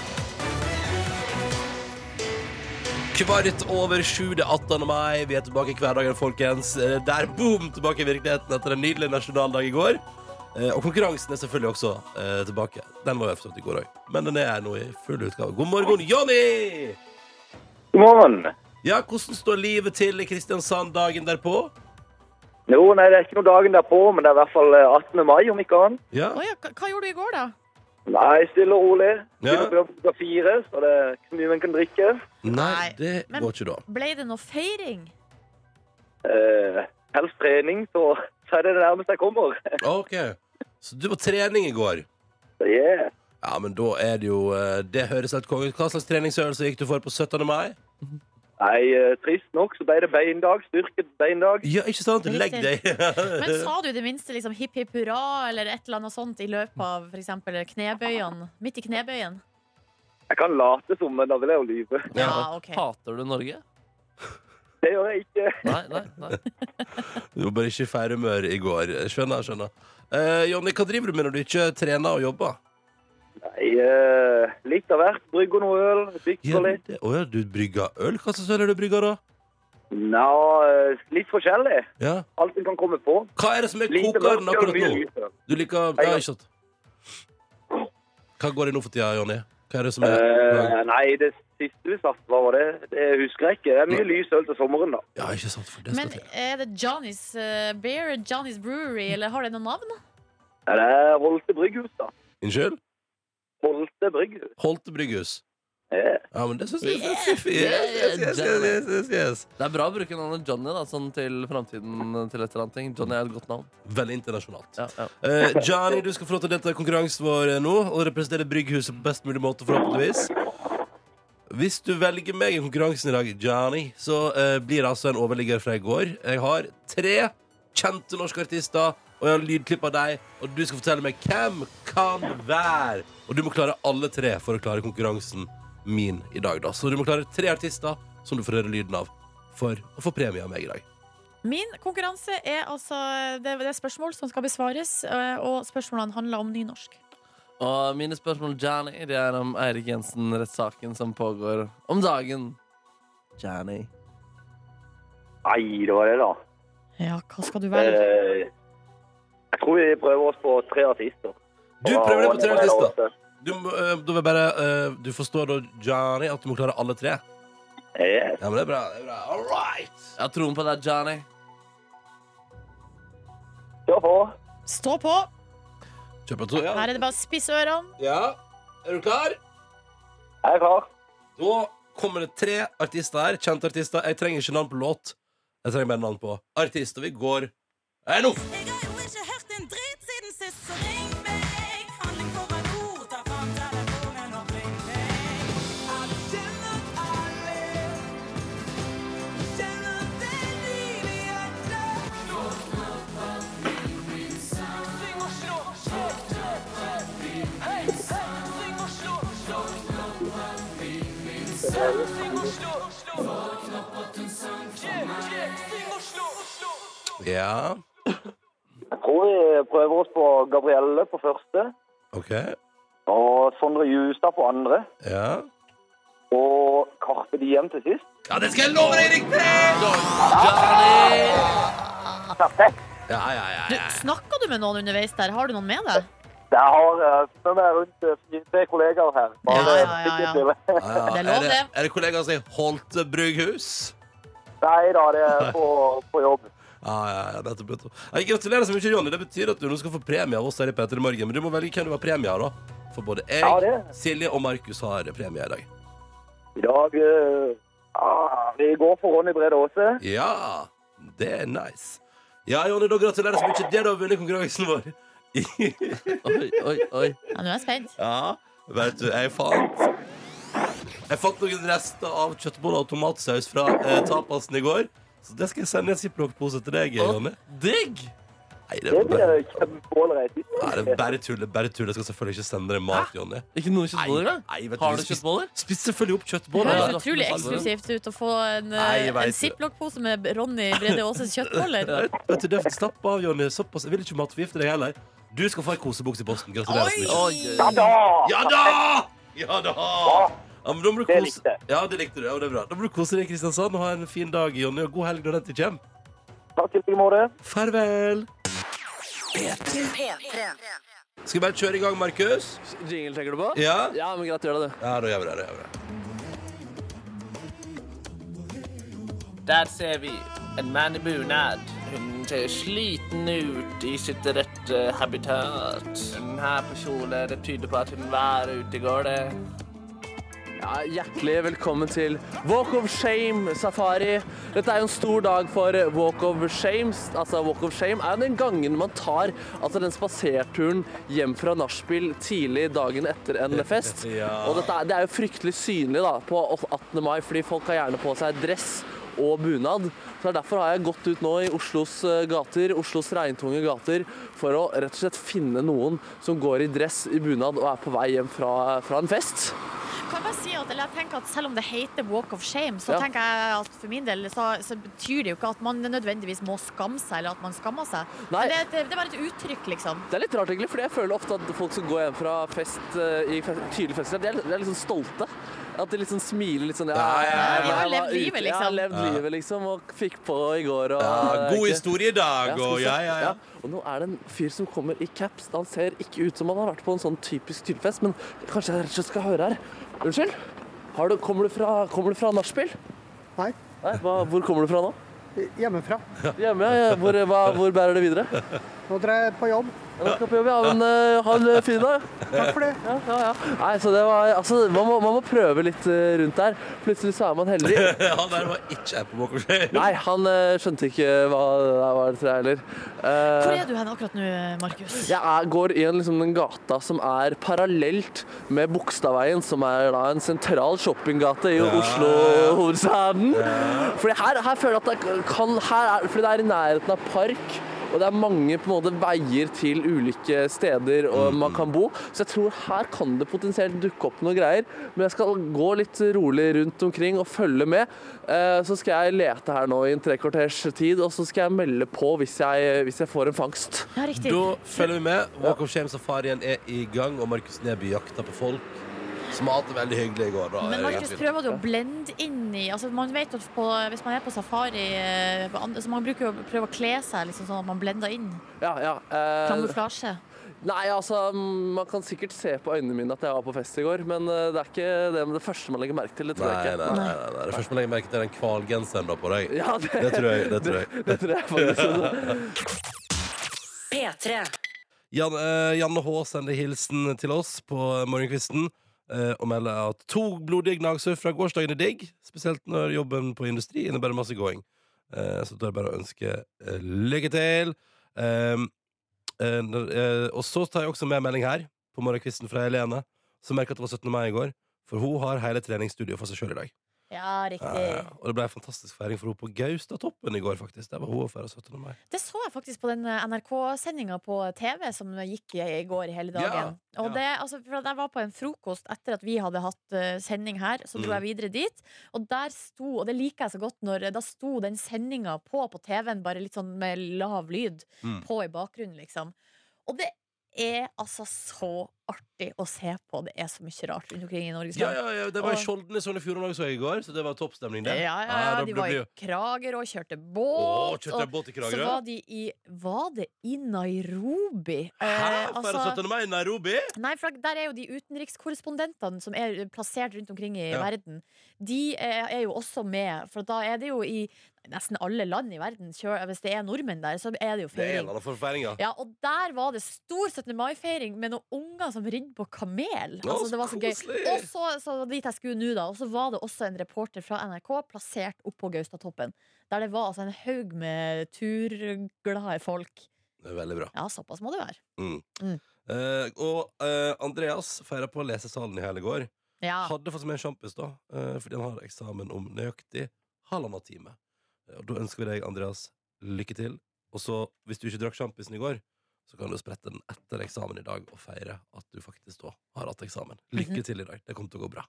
S2: Kvart over sju, det er 18. mai. Vi er tilbake i hverdagen, folkens. Eh, Der, boom, tilbake i virkeligheten etter en nydelig nasjonaldag i går. Eh, Og konkurransen er selvfølgelig også eh, tilbake. Den var jo forstått i går òg, men den er her nå i full utgave. God morgen, Jonny!
S6: God morgen.
S2: Ja, hvordan står livet til i Kristiansand dagen derpå?
S6: Jo, nei, det er ikke noe dagen derpå, men det er i hvert fall eh, 18. mai, om ikke annet.
S2: Ja,
S4: Å ja, hva, hva gjorde du i går, da?
S6: Nei, stille og rolig.
S2: Ja.
S6: Begynner på jobb klokka fire, så det er ikke så mye man kan drikke.
S2: Nei, det
S4: men-
S2: går ikke da.
S4: Ble det noe feiring?
S6: Eh, helst trening, så, så er det det nærmeste jeg kommer.
S2: OK. Så du var trening i går.
S6: Så, yeah.
S2: Ja, men da er det jo eh, Det høres helt konge ut. Hva slags treningsøvelse gikk du for på 17. mai?
S6: Nei, eh, trist nok, så ble det beindag, styrket beindag.
S2: Ja, ikke sant? Legg deg.
S4: Men sa du i det minste liksom hipp hipp hurra eller et eller annet sånt i løpet av for eksempel knebøyene? Midt i knebøyen?
S6: Jeg kan late som, men da vil jeg jo lyve.
S4: Ja,
S2: Ja.
S4: OK.
S3: Hater du Norge?
S6: Det gjør jeg ikke.
S3: Nei, nei, nei.
S2: Du var bare ikke i feilhumør i går. Skjønner, skjønner. Eh, Jonny, hva driver du med når du ikke trener og jobber?
S6: Nei, eh, litt av hvert. Brygger noe øl,
S2: Gjør
S6: bykser
S2: du
S6: litt.
S2: det? Å ja, du brygger øl? Hva slags øl er det du brygger, da?
S6: Nå, eh, litt forskjellig.
S2: Ja.
S6: Alt en kan komme på.
S2: Hva er det som er
S6: Lite
S2: kokeren
S6: mørkt,
S2: akkurat
S6: mye
S2: nå?
S6: lysere.
S2: Du liker Ja, ikke sant. Hva går det nå for tida, Jonny? Hva er det som er
S6: Eh, nei, det siste vi satt, hva var det? Det husker jeg ikke. Det er mye lys øl til sommeren, da.
S2: Ja, ikke sant, for det skal
S4: Men
S2: til.
S4: er det Johnny's eh, Beer, Johnny's Brewery, eller har det noe navn?
S6: Ja, Det er Holte brygghus, da.
S2: Unnskyld?
S6: Holte brygghus.
S2: Holte brygghus.
S6: Eh,
S2: Ja, men det syns jeg er fiffig. Yes, yes, yes, yes, yes, yes, yes.
S3: Det er bra å bruke navnet Johnny da, sånn til framtiden. til et eller annet ting. Johnny er et godt navn.
S2: Veldig internasjonalt.
S3: Ja, ja.
S2: Eh, Johnny, du skal få lov til å delta i konkurransen vår eh, nå og representere Brygghuset på best mulig måte, forhåpentligvis. Hvis du velger meg i konkurransen i dag, Johnny, så eh, blir det altså en overligger fra i går. Jeg har tre kjente norske artister, og jeg har lydklipp av deg, og du skal fortelle meg hvem kan være. Og du må klare alle tre for å klare konkurransen min i dag, da. Så du må klare tre artister som du får høre lyden av, for å få premie av meg i dag.
S4: Min konkurranse er altså Det det er spørsmål som skal besvares, eh, og spørsmålene handler om nynorsk.
S3: Og mine spørsmål Johnny, det er om Eirik Jensen-rettssaken som pågår om dagen. Johnny.
S6: Nei, det var det, da.
S4: Ja, hva skal du velge?
S6: Eh, jeg tror vi prøver oss på tre artister.
S2: Du prøver deg på tre artister.
S6: artister?
S2: Du, må, eh, da vil jeg bare, eh, du forstår da, Johnny, at du må klare alle tre?
S6: Yes.
S2: Ja, men det er bra. det er bra All right!
S3: Jeg har troen på deg, Johnny.
S6: Kjør på.
S4: Stå på!
S2: Kjør på to.
S4: Her
S2: Ja.
S4: er det bare å spisse ørene.
S2: ja. Er du klar?
S6: Jeg er klar.
S2: Da kommer det tre artister her. Kjente artister. Jeg trenger ikke navn på låt. Jeg trenger bare navn på artist, og vi går Nei, nå!
S7: Jeg har jo ikke hørt en drit siden sist, så ring meg. Handling foran ord, ta fram telefonen og ring meg. Alle kjenner alle. Kjenner det livet i hjertet. Syng og slå, slå, slå, slå. Hei, hei, syng og slå, slå. Syng og slå, slå. Yeah, yeah, syng og slå, slå, slå.
S2: Ja,
S6: Jeg tror vi prøver oss på Gabrielle på første.
S2: OK.
S6: Og Sondre Justad på andre.
S2: Ja.
S6: Og Karpe Diem til sist.
S2: Ja, det skal jeg love deg, riktig!
S6: Perfekt.
S2: Ja, ja, ja,
S4: Du,
S2: ja.
S4: snakka du med noen underveis der? Har du noen med deg?
S6: Jeg har eh, med meg rundt eh, fire- tre kollegaer her. Bare
S4: Ja, ja, ja, ja.
S6: sikkert stille.
S2: ja, ja.
S4: Det er lov, det.
S2: Er det kollegaen sin Holte Brygghus?
S6: Nei da, det er på, på jobb.
S2: Ja, ja, ja, nettopp. nettopp. Nei, Gratulerer så mye, Jonny. Det betyr at du nå skal få premie av oss her i Peter i morgen. Men du må velge hvem du har premie av, da. For både jeg,
S6: Ja, det.
S2: Silje og Markus har premie i dag.
S6: I dag eh, ah, Vi går for Ronny Brede Aase.
S2: Ja, det er nice. Ja, Jonny, da gratulerer så mye. Det du har vunnet konkurransen vår.
S3: Oi, oi, oi.
S4: Ja, nå er jeg spent.
S2: ja, vet du, jeg fant Jeg fant noen rester av kjøttboller og tomatsaus fra eh, tapasen i går. Så det skal jeg sende i en ziplock-pose til deg,
S3: Å,
S2: Jonny.
S3: digg!
S2: Nei, det
S6: Det
S2: er bare,
S6: blir kjempeålreit.
S2: nei, det er bare tull. det er Bare tull. Jeg skal selvfølgelig ikke sende deg mat, Jonny.
S3: Ikke noen kjøttboller?
S2: Nei,
S3: da?
S2: nei, vet du,
S3: Har du
S2: vi spiste-
S3: kjøttboller?
S2: Spis selvfølgelig opp
S4: Det
S2: kjøttboller.
S3: Ja,
S4: høres utrolig eksklusivt ut å få en,
S2: Nei, jeg
S4: eh,
S2: vet
S4: en
S2: det.
S4: ziplock-pose med Ronny Brede Aases kjøttboller.
S2: Vet du, Døft, Slapp av, Jonny. Såpass. Jeg vil ikke matforgifte deg heller. Du skal få ei kosebukse i posten. Gratulerer så mye.
S6: Ja da!
S2: Ja da! Ja da! Ja, men da må du
S6: Det
S2: kose-
S6: likte jeg.
S2: Ja, det likte du. Ja, det er bra. Da må du kose deg i Kristiansand og ha en fin dag, Jonny, og god helg når den tid kommer.
S6: Takk i like måte.
S2: Farvel!
S1: P3.
S2: Skal vi bare kjøre i gang, Markus?
S3: Jingle tenker du på?
S2: Ja?
S3: Ja, men greit, gjør det, du.
S2: Ja, da gjør vi det. Da gjør vi det.
S8: Der ser vi en mann i bunad. Hun ser sliten ut i sitt rette habitat. Hun her på kjole, det tyder på at hun var ute i gulvet.
S3: Ja, hjertelig velkommen til Walk of Shame Safari. Dette er jo en stor dag for Walk of Shame. Altså, Walk of Shame er jo den gangen man tar altså, den spaserturen hjem fra nachspiel tidlig dagen etter en fest.
S2: Ja.
S3: Og dette er, det er jo fryktelig synlig da, på 18. mai, fordi folk har gjerne på seg dress og bunad. Så det er derfor har jeg gått ut nå i Oslos eh, gater, Oslos regntunge gater, for å rett og slett finne noen som går i dress i bunad og er på vei hjem fra, fra en fest.
S4: Kan jeg bare si at, eller jeg tenker at Selv om det heter walk of shame, så
S3: Ja.
S4: tenker jeg at for min del så, så betyr det jo ikke at man nødvendigvis må skamme seg, eller at man skammer seg.
S3: Nei.
S4: Men det, det, det er bare et uttrykk, liksom.
S3: Det er litt rart, egentlig, for jeg føler ofte at folk som går hjem fra fest, eh, i fest, tidlig fester, de er, de er litt sånn stolte. At de liksom smiler litt sånn Ja,
S2: Ja, ja, ja,
S4: ja.
S3: jeg
S4: De har
S3: var
S4: levd livet,
S3: ute- Jeg har
S4: liksom.
S3: levd livet, liksom, og fikk på i går og
S2: Ja, Ah, god
S3: ikke-
S2: historie i dag,
S3: skal
S2: og
S3: vi se.
S2: ja, ja, ja.
S3: Og nå er det en fyr som kommer i caps. Han ser ikke ut som han har vært på en sånn typisk tyllfest, men kanskje jeg rett og slett skal høre her. Unnskyld? Har du, kommer du fra, kommer du fra nachspiel?
S9: Nei.
S3: Nei, hva, hvor kommer du fra nå?
S9: Hjemmefra.
S3: Hjemme, ja. ja. Hvor, hva, hvor bærer det videre? Ja,
S9: Nå drar jeg på jobb.
S3: nå skal jeg på jobb, ja. Men eh, ha en eh, fin dag.
S9: Takk for det.
S3: Ja, ja. Nei, så det var Altså, man må, man må prøve litt eh, rundt der. Plutselig så er man heldig.
S2: Han der var ikke her på Walker
S3: Nei, han eh, skjønte ikke hva det der var, tror jeg heller. Eh,
S4: Hvor er du hen akkurat nå, Markus?
S3: Jeg er, går i en, liksom, den gata som er parallelt med Bogstadveien, som er da en sentral shoppinggate i Oslo-hovedstaden. Fordi her, her føler jeg at det kan her er, Fordi det er i nærheten av park. Og det er mange på en måte veier til ulike steder og man kan bo. Så jeg tror her kan det potensielt dukke opp noen greier. Men jeg skal gå litt rolig rundt omkring og følge med. Eh, Så skal jeg lete her nå i en trekvarters tid, og så skal jeg melde på hvis jeg, hvis jeg får en fangst.
S4: Ja, riktig.
S2: Da følger vi med. Walk of Shame-safarien er i gang, og Markus Neby jakter på folk som har hatt det veldig hyggelig i går. Da.
S4: Men Markus,
S2: Egentlig.
S4: prøver du å blende inn i altså Man vet jo at på, Hvis man er på safari eh, på andre- så Man bruker jo å prøve å kle seg liksom, sånn at man blender inn.
S3: Ja, ja. Eh,
S4: Kamuflasje.
S3: Nei, altså, mm, man kan sikkert se på øynene mine at jeg var på fest i går, men eh, det er ikke det, det første man legger merke til. Det
S2: Nei,
S3: tror
S2: nei,
S3: jeg
S2: nei,
S3: ikke.
S2: nei, nei. Det første man legger merke til, er den hvalgenseren du har på deg.
S3: Ja, det,
S2: Det tror jeg. Det tror jeg.
S3: det tror jeg faktisk.
S1: P3.
S2: Jan, eh, Janne H sender hilsen til oss på morgenkvisten eh, og melder at to blodige gnagsår fra gårsdagen er digg, spesielt når jobben på industri innebærer masse gåing. Eh, så da er det bare å ønske eh, lykke til. Ehm, eh, når- eh, og så tar jeg også med en melding her på morgenkvisten fra Helene, som merka at det var 17. mai i går, for hun har hele treningsstudioet for seg sjøl i dag.
S4: Ja, riktig.
S2: Eh, og det ble en fantastisk feiring for henne på Gaustatoppen i går, faktisk. Der var hun og feira 17. mai.
S4: Det så jeg faktisk på den eh, NRK-sendinga på TV som gikk i i går hele dagen.
S2: Ja,
S4: Og
S2: ja.
S4: det, altså, for at jeg var på en frokost etter at vi hadde hatt eh, sending her, så
S2: Mm.
S4: dro jeg videre dit. Og der sto, og det liker jeg så godt, når da sto den sendinga på på TV-en, bare litt sånn med lav lyd
S2: Mm.
S4: på i bakgrunnen, liksom. Og det er altså så artig å se på. Det er så mye rart rundt omkring i Norges
S2: Ja,
S4: land.
S2: ja, ja, det var i
S4: Og-
S2: Skjolden i Sogn og Fjordane også i går, så det var toppstemning,
S4: Ja,
S2: det.
S4: ja, ja,
S2: da
S4: de
S2: blir
S4: var i
S2: det-
S4: Kragerø og kjørte
S2: Å,
S4: båt. og-
S2: kjøpte jeg båt i
S4: Så
S2: Kragerø.
S4: var de i Var det i Nairobi?
S2: Hæ?
S4: Eh,
S2: Feire 17. mai i Nairobi?
S4: nei, for der er jo de utenrikskorrespondentene som er plassert rundt omkring i
S2: Ja.
S4: verden. De eh, er jo også med, for da er det jo i nesten alle land i verden. kjør- Hvis det er nordmenn der, så er det jo
S2: Det er en
S4: feiring.
S2: eller annen form for feiring, ja.
S4: Ja, og der var det stor 17. mai-feiring med noen unger som ridde på
S2: Å,
S4: kamel. Altså,
S2: så
S4: det var så gøy.
S2: koselig.
S4: Og så, så dit jeg skulle nå, da. Og så var det også en reporter fra NRK plassert oppå Gaustatoppen. Der det var altså en haug med turglade folk.
S2: Det er veldig bra.
S4: Ja, såpass må det være.
S2: Eh, og eh, Andreas feira på lesesalen i hele går.
S4: Ja.
S2: Hadde fått med en sjampis, da, eh, fordi han har eksamen om nøyaktig halvannen time. Eh, Og da ønsker vi deg, Andreas, lykke til. Og så, hvis du ikke drakk sjampisen i går, så kan du sprette den etter eksamen i dag og feire at du faktisk da har hatt eksamen.
S4: Mhm.
S2: Lykke til i dag. Det kommer til å gå bra.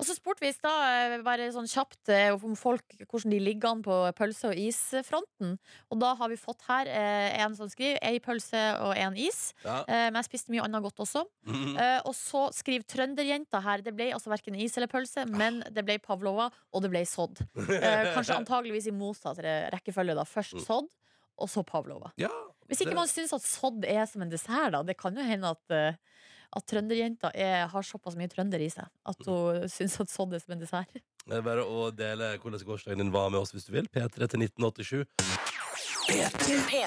S4: Og så spurte vi i stad eh, bare sånn kjapt eh, om folk hvordan de ligger an på pølse- og isfronten. Og da har vi fått her eh, en som skriver ei pølse og en is.
S2: Ja.
S4: Eh, men jeg spiste mye annet godt også.
S3: Mm.
S4: Eh, og så skriver trønderjenta her det ble altså verken is eller
S3: Ah.
S4: pølse, men det ble pavlova, og det ble sodd. Eh, kanskje antageligvis i motsatt re- rekkefølge. da Først
S3: Mm.
S4: sodd, og så pavlova.
S2: Ja,
S4: Hvis ikke
S2: det-
S4: man syns at sodd er som en dessert, da. Det kan jo hende at, eh, at trønderjenta er, har såpass mye trønder i seg at
S3: Mm.
S4: hun syns at sodd er som en dessert.
S2: Det er bare å dele hvordan gårsdagen din var med oss hvis du vil. P3 til 1987.
S1: P3.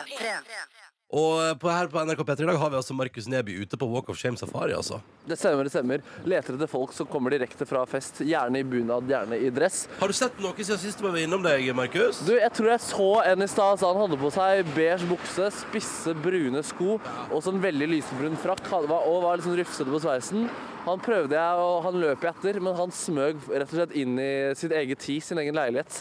S2: Og eh, på, her på NRK P3 i dag har vi altså Markus Neby ute på Walk of Shame Safari, altså.
S3: Det stemmer, det stemmer. Leter etter folk som kommer direkte fra fest. Gjerne i bunad, gjerne i dress.
S2: Har du sett noe siden sist du var innom deg, Markus?
S3: Du, jeg tror jeg så en i stad. så Han hadde på seg beige bukse, spisse, brune sko og sånn veldig lysebrun frakk. Han var, og var litt sånn rufsete på sveisen. Han prøvde jeg, og han løp jeg etter, men han smøg rett og slett inn i sitt eget tid, sin egen leilighet.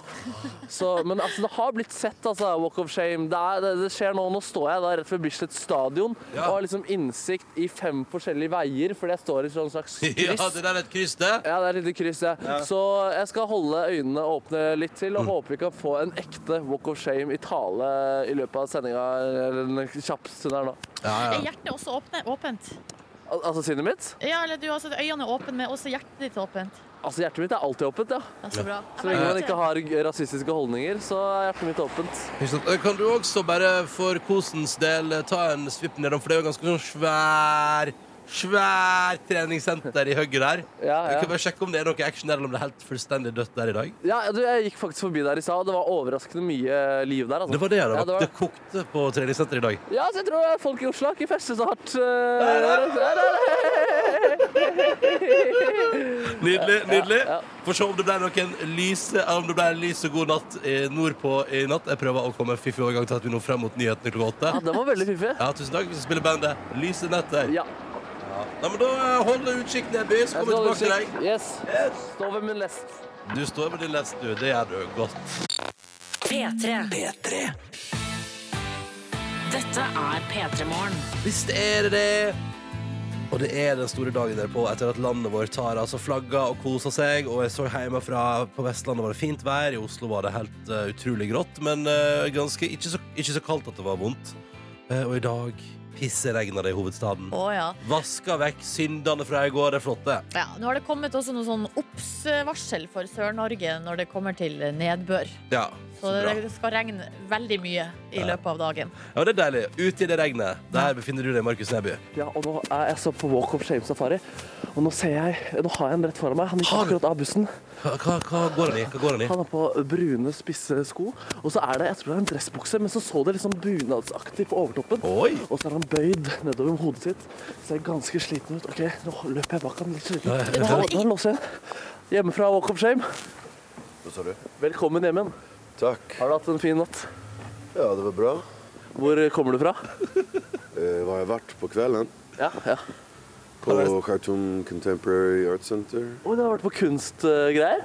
S3: Så, men altså, det har blitt sett, altså, Walk of Shame. Det, er, det, det skjer nå. Nå står jeg da rett ved Bislett stadion
S2: Ja.
S3: og har liksom innsikt i fem forskjellige veier, fordi jeg står i sånn slags
S2: Ja,
S3: kryss.
S2: det der er et kryss, det.
S3: Ja, det er et lite kryss, ja. Så jeg skal holde øynene åpne litt til,
S2: Mm.
S3: og håper vi kan få en ekte Walk of Shame i tale i løpet av sendinga, eller den kjappeste der nå.
S4: Er hjertet også åpne, åpent?
S3: Al altså sinnet mitt?
S4: Ja, eller du, altså, øynene er åpne, men også hjertet ditt er åpent.
S3: Altså hjertet mitt er alltid åpent, ja.
S4: Det er så bra.
S3: Så lenge man ikke har g- rasistiske holdninger, så er hjertet mitt åpent.
S2: Ikke sant? Eh, Kan du også bare for kosens del eh, ta en svipp nedom, for det er jo ganske sånn svær Svær treningssenter i høgget der.
S3: Ja,
S2: Du
S3: ja.
S2: kan bare sjekke om det er noe action der, eller om det er helt fullstendig dødt der i dag.
S3: Ja, du, jeg gikk faktisk forbi der i stad, og det var overraskende mye liv der, altså.
S2: Det var det, da.
S3: Ja,
S2: det, kokte på treningssenteret i dag.
S3: Ja, så jeg tror folk i Oslo har ikke festet så hardt. eh,
S2: Nydelig. nydelig
S3: ja.
S2: Får se om det ble noen lyse Om det ble en lys og god natt eh, nordpå i natt. Jeg prøver å komme fiffig overgang til at vi nå frem mot nyhetene klokka åtte.
S3: Ja, den var veldig fiffig.
S2: Ja, tusen takk. Vi skal spille bandet Lyse netter.
S3: Ja.
S2: Nei, men da eh, hold utkikk, Neby, så kommer
S3: Jeg skal
S2: vi tilbake til
S3: holde
S2: deg.
S3: kikk. Yes. Stå ved min lest.
S2: Du står med din lest, du. Det gjør du godt.
S1: P3. Dette er P3 Morgen.
S2: Visst er det det. Og det er den store dagen derpå etter at landet vårt har altså flagga og kosa seg. Og jeg så hjemmefra på Vestlandet var det fint vær, i Oslo var det helt eh, utrolig grått. Men eh, ganske ikke så, ikke så kaldt at det var vondt. Eh, og i dag pisseregna det i hovedstaden.
S4: Å ja.
S2: Vaska vekk syndene fra i går, det er flott, det.
S4: ja. Nå har det kommet også noe sånn obs-varsel for Sør-Norge når det kommer til nedbør.
S2: Ja,
S4: Så
S2: så bra.
S4: det skal regne veldig mye i løpet av dagen.
S2: Ja, men det er deilig. Ute i det regnet. Der befinner du deg, Markus Neby.
S3: Ja, og nå er jeg så på Walk of Shame Safari, og nå ser jeg Nå har jeg en rett foran meg. Han gikk
S2: Har du?
S3: akkurat av bussen.
S2: Hva, hva, hva går han i? Hva går han i?
S3: Han har på brune, spisse sko, og så er det jeg tror det er en dressbukse, men så så det litt sånn bunadsaktig på overtoppen.
S2: Oi!
S3: Og så er han bøyd nedover med hodet sitt. Ser ganske sliten ut. OK, nå løper jeg bak ham litt sliten.
S2: Nei,
S3: Nå, nå låser jeg igjen. Hjemmefra Walk of Shame.
S10: Hva sa du?
S3: Velkommen hjem igjen.
S10: Takk.
S3: Har du hatt en fin natt?
S10: Ja, det var bra.
S3: Hvor kommer du fra?
S10: Eh, hva har jeg vært på kvelden?
S3: Ja, ja.
S10: På Khartoum Contemporary Art Center.
S3: Oi, du har vært på kunstgreier?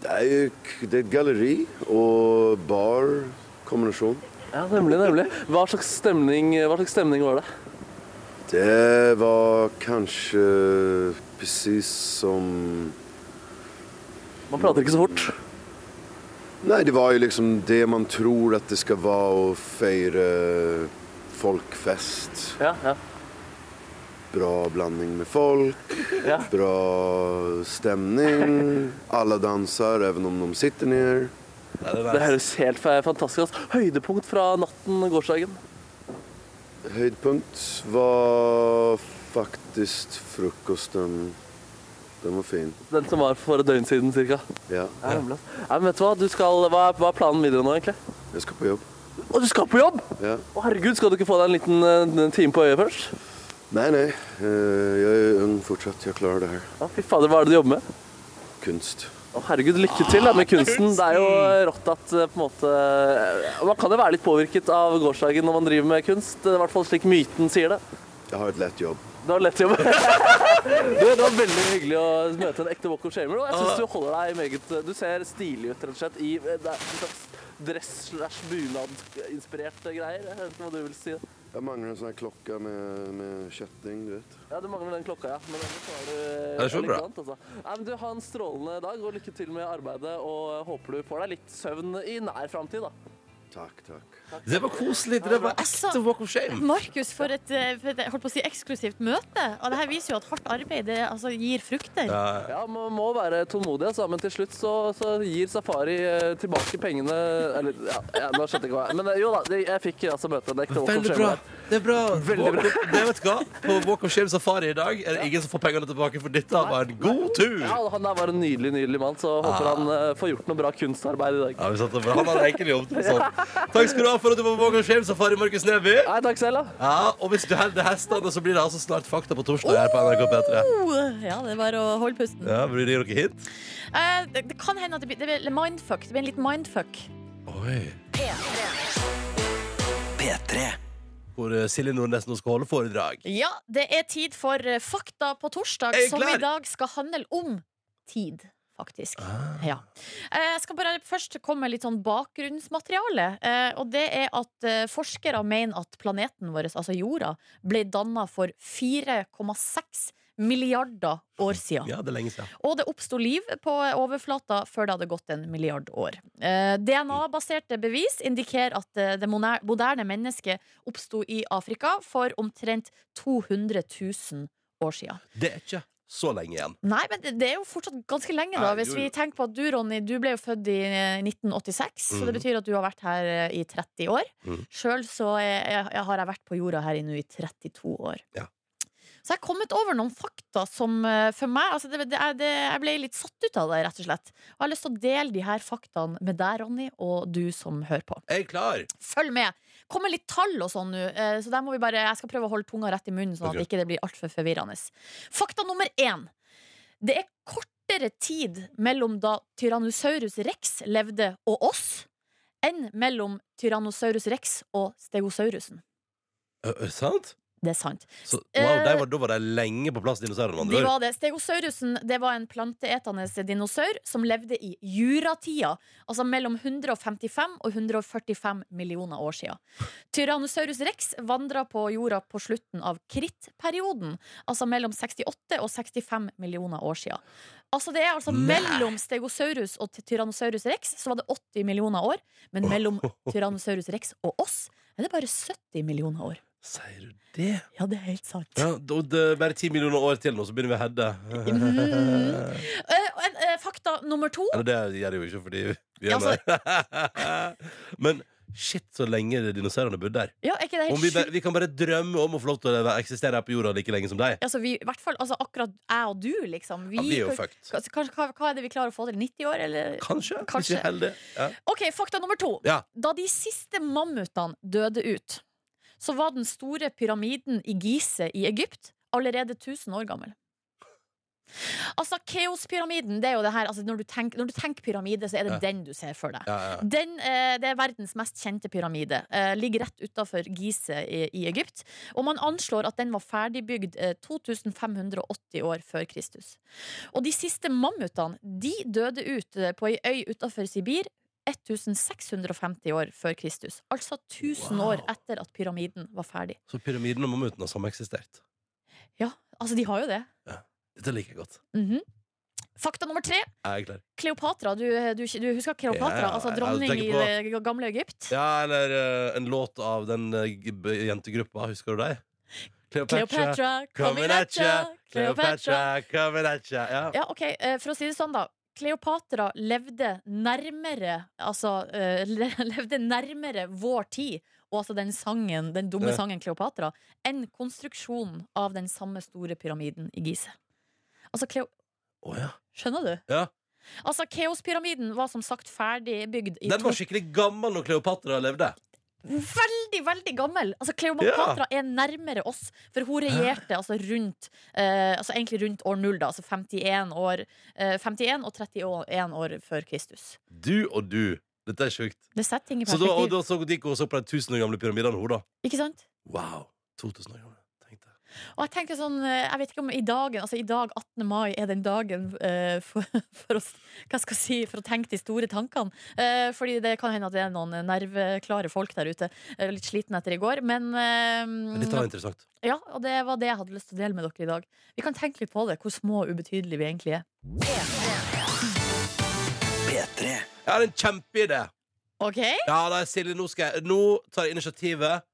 S10: Det er, jo k- det er et galleri og barkombinasjon.
S3: Ja, nemlig, nemlig. Hva slags stemning, hva slags stemning var det?
S10: Det var kanskje presis som
S3: Man prater ikke så fort.
S10: Nei, det var jo liksom det man tror at det skal være å feire folkfest.
S3: Ja, ja.
S10: Bra blanding med folk,
S3: Ja.
S10: bra stemning. Alle danser, even om de sitter ned.
S2: Nei, det er
S3: Det høres helt fa- fantastisk ut. Høydepunkt fra natten gårsdagen.
S10: Høydepunkt var faktisk frokosten. Den var fin.
S3: Den som var for et døgn siden ca.
S10: Ja.
S3: Ja. nemlig. Nei, men vet du hva? Du skal, hva, er, hva er planen videre nå, egentlig?
S10: Jeg skal på jobb.
S3: Å, du skal på jobb!
S10: Ja.
S3: Å, herregud, skal du ikke få deg en liten eh, en time på øyet først?
S10: Nei, nei. eh, Jeg er ung fortsatt. Jeg klarer det her.
S3: Ja, fy fader, hva er det du jobber med?
S10: Kunst.
S3: Å, herregud, lykke til da, med Ah, kunsten. Det er jo rått at eh, på en måte eh, Man kan jo være litt påvirket av gårsdagen når man driver med kunst. eh, I hvert fall slik myten sier det.
S10: Jeg har et lett jobb.
S3: Det var lett jobb. du, det var veldig hyggelig å møte en ekte walk of shamer. Og jeg syns du holder deg meget Du ser stilig ut, rett og slett. I, eh, det er en slags dress-slash-bunad-inspirert greier. Jeg vet ikke hva du vil si.
S10: Jeg mangler en sånn her klokke med, med kjetting, du vet.
S3: Ja, du mangler den klokka, ja. Men ellers var du
S10: Jeg skjønner det.
S3: elegant, altså. Nei, men du, ha en strålende dag, og lykke til med arbeidet. Og håper du får deg litt søvn i nær framtid, da.
S10: Takk, takk.
S2: Det var koselig. Det var ekte walk of shame.
S4: Altså, Markus, for et, eh, for et jeg holdt på å si, eksklusivt møte. Og det her viser jo at hardt arbeid det, altså, gir frukter.
S3: Ja, man må være tålmodig, altså. Men til slutt så, så gir Safari eh, tilbake pengene Eller, ja, ja nå skjønte jeg ikke hva jeg Men eh, jo da, det- jeg fikk altså møte en ekte walk of
S2: Veldig
S3: shame
S2: bra.
S3: der.
S2: Det er bra.
S3: Veldig bra.
S2: Det vet du hva? På Walk of Shame Safari i dag er det ingen som får pengene tilbake, for dette var en god tur.
S3: Ja, han der var en nydelig, nydelig mann, så håper han eh, får gjort noe bra kunstarbeid i dag.
S2: Ja, vi satte bra. Han har enkel jobb. tross alt. sånn. Takk skal du ha for at du var på Walk of Shame Safari, Markus Neby.
S3: Nei, takk selv, da.
S2: Ja, og hvis du holder hestene, så blir det altså snart fakta på torsdag her på NRK P3.
S4: Oh, Ja, det er bare å holde pusten.
S2: Ja, Blir det noe hint?
S4: Eh, det, det kan hende at det blir, det blir litt mindfuck. Det blir en liten mindfuck.
S2: Oi. P3. Hvor eh, Silje Nordnes nå skal holde foredrag.
S4: Ja, det er tid for eh, fakta på torsdag,
S2: Er jeg
S4: som
S2: klar?
S4: i dag skal handle om tid, faktisk.
S2: Ah.
S4: Ja. Eh, Jeg skal bare først komme med litt sånn bakgrunnsmateriale. eh, Og det er at eh, forskere mener at planeten vår, altså jorda, ble danna for 4,6 milliarder år siden.
S2: Ja, det er lenge siden.
S4: Og det oppsto liv på overflata før det hadde gått en milliard år. Eh, DNA-baserte bevis indikerer at eh, det moner- moderne mennesket oppsto i Afrika for omtrent 200 000 år siden.
S2: Det er ikke så lenge igjen.
S4: Nei, men det- det er jo fortsatt ganske lenge, da.
S2: Nei, jo,
S4: Hvis vi
S2: jo.
S4: tenker på at du, Ronny, du ble jo født i eh, 1986, så det
S2: Mhm.
S4: betyr at du har vært her eh, i 30 år.
S2: Mhm.
S4: Sjøl så eh, jeg- jeg har jeg vært på jorda her i nå i 32 år. Så jeg har kommet over noen fakta som eh, for meg altså det, det, er- det, Jeg ble litt satt ut av det, rett og slett. Og jeg har lyst til å dele de her faktaene med deg, Ronny, og du som hører på.
S2: Er jeg klar?
S4: Følg med! Kommer litt tall og sånn nå, eh, så der må vi bare, jeg skal prøve å holde tunga rett i munnen, sånn at
S2: Ok.
S4: ikke det blir altfor forvirrende. Fakta nummer én. Det er kortere tid mellom da Tyrannosaurus rex levde og oss, enn mellom Tyrannosaurus rex og Stegosaurusen.
S2: Ø, ø, sant?
S4: Det er sant.
S2: Så, wow, de var, da var de lenge på plass, dinosaurene.
S4: Eh, De
S2: andre ord.
S4: var det. Stegosaurusen det var en planteetende dinosaur som levde i juratida, altså mellom 155 og 145 millioner år siden. Tyrannosaurus rex vandra på jorda på slutten av krittperioden, altså mellom 68 og 65 millioner år siden. Altså det er altså mellom Stegosaurus og Tyrannosaurus rex så var det 80 millioner år, men mellom Tyrannosaurus rex og oss er det bare 70 millioner år.
S2: Sier du det?
S4: Ja, det er helt sant.
S2: Ja, da- det er bare ti millioner år til nå, så begynner vi å hedde.
S4: Eh, og en, eh, fakta nummer to
S2: Eller det gjør det jo ikke, fordi vi
S4: Ja, altså-
S2: er der. Men shit, så lenge dinosaurene bodde der.
S4: Ja, er ikke det
S2: Om
S4: helt
S2: vi,
S4: sjukt?
S2: bare, vi kan bare drømme om å få lov til å leve- eksistere her på jorda like lenge som deg.
S4: Altså, vi, i hvert fall, altså, akkurat jeg og du, liksom.
S2: Ja, vi er jo
S4: kan-
S2: fucked.
S4: kan- kan- hva, hva er det vi klarer å få til? 90 år, eller?
S2: Kanskje. Hvis vi
S4: Kanskje.
S2: er heldige. Ja.
S4: Ok, fakta nummer to.
S2: Ja.
S4: Da de siste mammutene døde ut, så var den store pyramiden i Gise i Egypt allerede 1000 år gammel. Altså, Keospyramiden, det er jo det her altså, når, du tenker, når du tenker pyramide, så er det
S7: Ja.
S4: den du ser for deg.
S7: Ja, ja, ja.
S4: Den, eh, det er verdens mest kjente pyramide. Eh, ligger rett utafor Gise i, i Egypt. Og man anslår at den var ferdigbygd eh, 2580 år før Kristus. Og de siste mammutene de døde ut eh, på ei øy utafor Sibir 1650 år før Kristus. Altså 1000 år etter at pyramiden var ferdig.
S2: Så pyramiden og mammuten har sameksistert.
S4: Ja, altså, de har jo det.
S2: Dette liker jeg godt.
S4: Mhm. Fakta nummer tre.
S2: Jeg er klar.
S4: Kleopatra. Du, eh, du, du husker Kleopatra?
S2: Ja, ja,
S4: altså
S2: ja,
S4: dronning
S2: jeg
S4: i
S2: tenker
S4: det gamle Egypt?
S2: Ja, eller eh, en låt av den eh, g- b- jentegruppa, husker du deg?
S4: Cleopatra, coming at ya.
S2: Cleopatra, coming at ya. Ja.
S4: Ja, ok, eh, For å si det sånn, da. Kleopatra levde nærmere Altså eh, le- levde nærmere vår tid, og altså den sangen, den dumme
S2: Ja.
S4: sangen Kleopatra, enn konstruksjonen av den samme store pyramiden i Gizeh. Altså Kleo... Skjønner du?
S2: Ja.
S4: Altså Keospyramiden var som sagt ferdigbygd i
S2: Den
S4: to-
S2: var skikkelig gammel når Kleopatra levde.
S4: Veldig, veldig gammel! Altså Kleopatra er nærmere oss, for hun regjerte altså rundt eh, Altså egentlig rundt år null, da. Altså 51 år eh, 51 og 31 år før Kristus.
S2: Du og du. Dette er sjukt.
S4: Det setter ting i
S2: Så da, og
S4: perspektiv.
S2: da så gikk hun og så på de tusen år gamle pyramidene, hun, da.
S4: Ikke sant?
S2: Wow. 2000 år gamle. Tenk deg.
S4: Og jeg tenker sånn, eh, jeg vet ikke om i dagen, altså i dag, 18. mai, er den dagen eh, for, for, oss, hva skal jeg si, for å tenke de store tankene. Eh, fordi det kan hende at det er noen nerveklare folk der ute, eh, litt sliten etter i går. Men eh,
S2: Dette var interessant.
S4: ja, og det var det jeg hadde lyst til å dele med dere i dag. Vi kan tenke litt på det, hvor små og ubetydelige vi egentlig er.
S2: P3. Jeg har en kjempeidé.
S4: Ok?
S2: Ja, nei, Silje, nå, skal jeg, nå tar jeg initiativet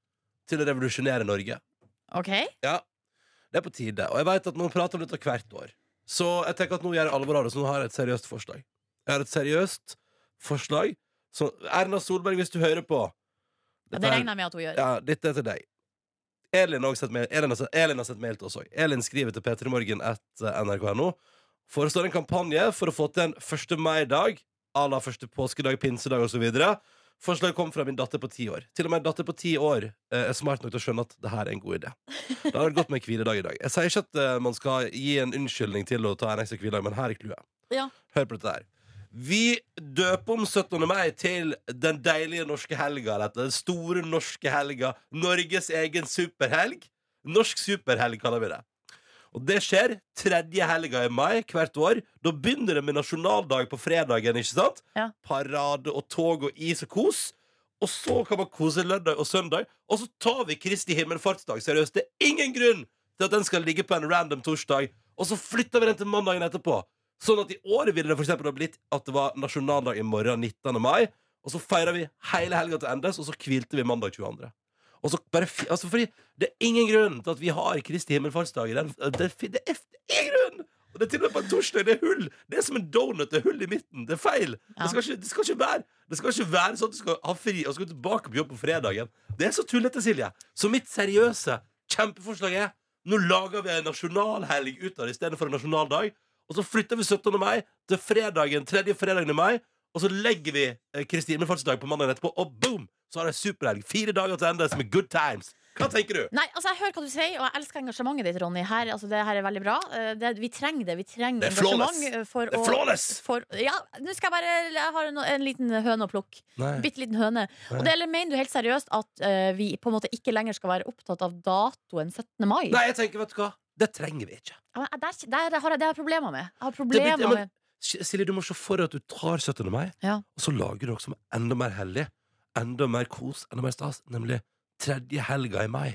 S2: til å revolusjonere Norge.
S4: Ok?
S2: Ja, det er på tide. Og jeg vet at man prater om dette hvert år. Så jeg tenker at nå gjør jeg alvor av det, så nå har jeg et seriøst forslag. Jeg har et seriøst forslag. Så Erna Solberg, hvis du hører på
S4: Ja,
S2: dette
S4: det
S2: her-
S4: regner jeg med at hun gjør.
S2: Ja, dette er til deg. Elin, har også sett mail, Elin, har, sett- Elin har sett mail til oss òg. Elin skriver til eh, p3morgen.nrk.no. Forestår en kampanje for å få til en 1. mai-dag à la første påskedag, pinsedag osv. Forslaget kom fra min datter på ti år. Til og med en datter på ti år eh, er smart nok til å skjønne at det her er en god idé. Da hadde det gått med en hviledag i dag. Jeg sier ikke at eh, man skal gi en unnskyldning til å ta en ekstra hviledag, men her er clouet.
S4: Ja.
S2: Hør på dette her. Vi døper om 17. mai til den deilige norske helga. eller etter Den store norske helga. Norges egen superhelg. Norsk superhelg, kaller vi det. Og det skjer tredje helga i mai hvert år. Da begynner det med nasjonaldag på fredagen. ikke sant? Parade og tog og is og kos. Og så kan man kose lørdag og søndag. Og så tar vi Kristi himmelfartsdag seriøst. Det er ingen grunn til at den skal ligge på en random torsdag. Og så flytter vi den til mandagen etterpå. Sånn at i år ville det for eksempel ha blitt at det var nasjonaldag i morgen, 19. mai. Og så feirer vi hele helga til endes, og så hvilte vi mandag 22. Og så bare, fi- altså fordi Det er ingen grunn til at vi har Kristi himmelfartsdag. i den- Det, er fi- det er ingen grunn! Og det er til og med på en torsdag. Det er hull. Det er som en donut. Det er hull i midten. Det er feil. Det, skal ikke, det, skal ikke være, det skal ikke være sånn at du skal ha fri og skal tilbake på jobb på fredagen. Det er så tullete, Silje. Så mitt seriøse kjempeforslag er nå lager vi en nasjonalhelg ut av det istedenfor en nasjonaldag. Og så flytter vi 17. mai til fredagen, tredje fredagen i mai. Og så legger vi eh, Kristi himmelfartsdag på mandagen etterpå, og boom! Så har jeg superhelg. Fire dager til endes med good times. Hva tenker du?
S4: Nei, altså Jeg hører hva du sier, og jeg elsker engasjementet ditt, Ronny. Her, altså, det her er veldig bra. Eh, Det, vi trenger det. Vi trenger
S2: Det er flawless.
S4: engasjement, eh, For
S2: Det er
S4: å-
S2: flawless.
S4: For, ja, nå skal jeg bare Jeg har en, en liten høne å plukke.
S2: Nei.
S4: Bitte liten høne.
S2: Nei.
S4: Og det, eller mener du helt seriøst at eh, vi på en måte ikke lenger skal være opptatt av datoen 17. mai?
S2: Nei, jeg tenker, vet du hva? Det trenger vi ikke.
S4: Ja, men eh, Der, der har jeg, det har jeg problemer med. Jeg har
S2: Det er
S4: problemer
S2: blitt- ja, men,
S4: med
S2: S- Silje, du må se for deg at du tar 17. mai,
S4: Ja.
S2: og så lager du noe som er enda mer hellig, enda mer kos, enda mer stas, nemlig tredje helga i mai.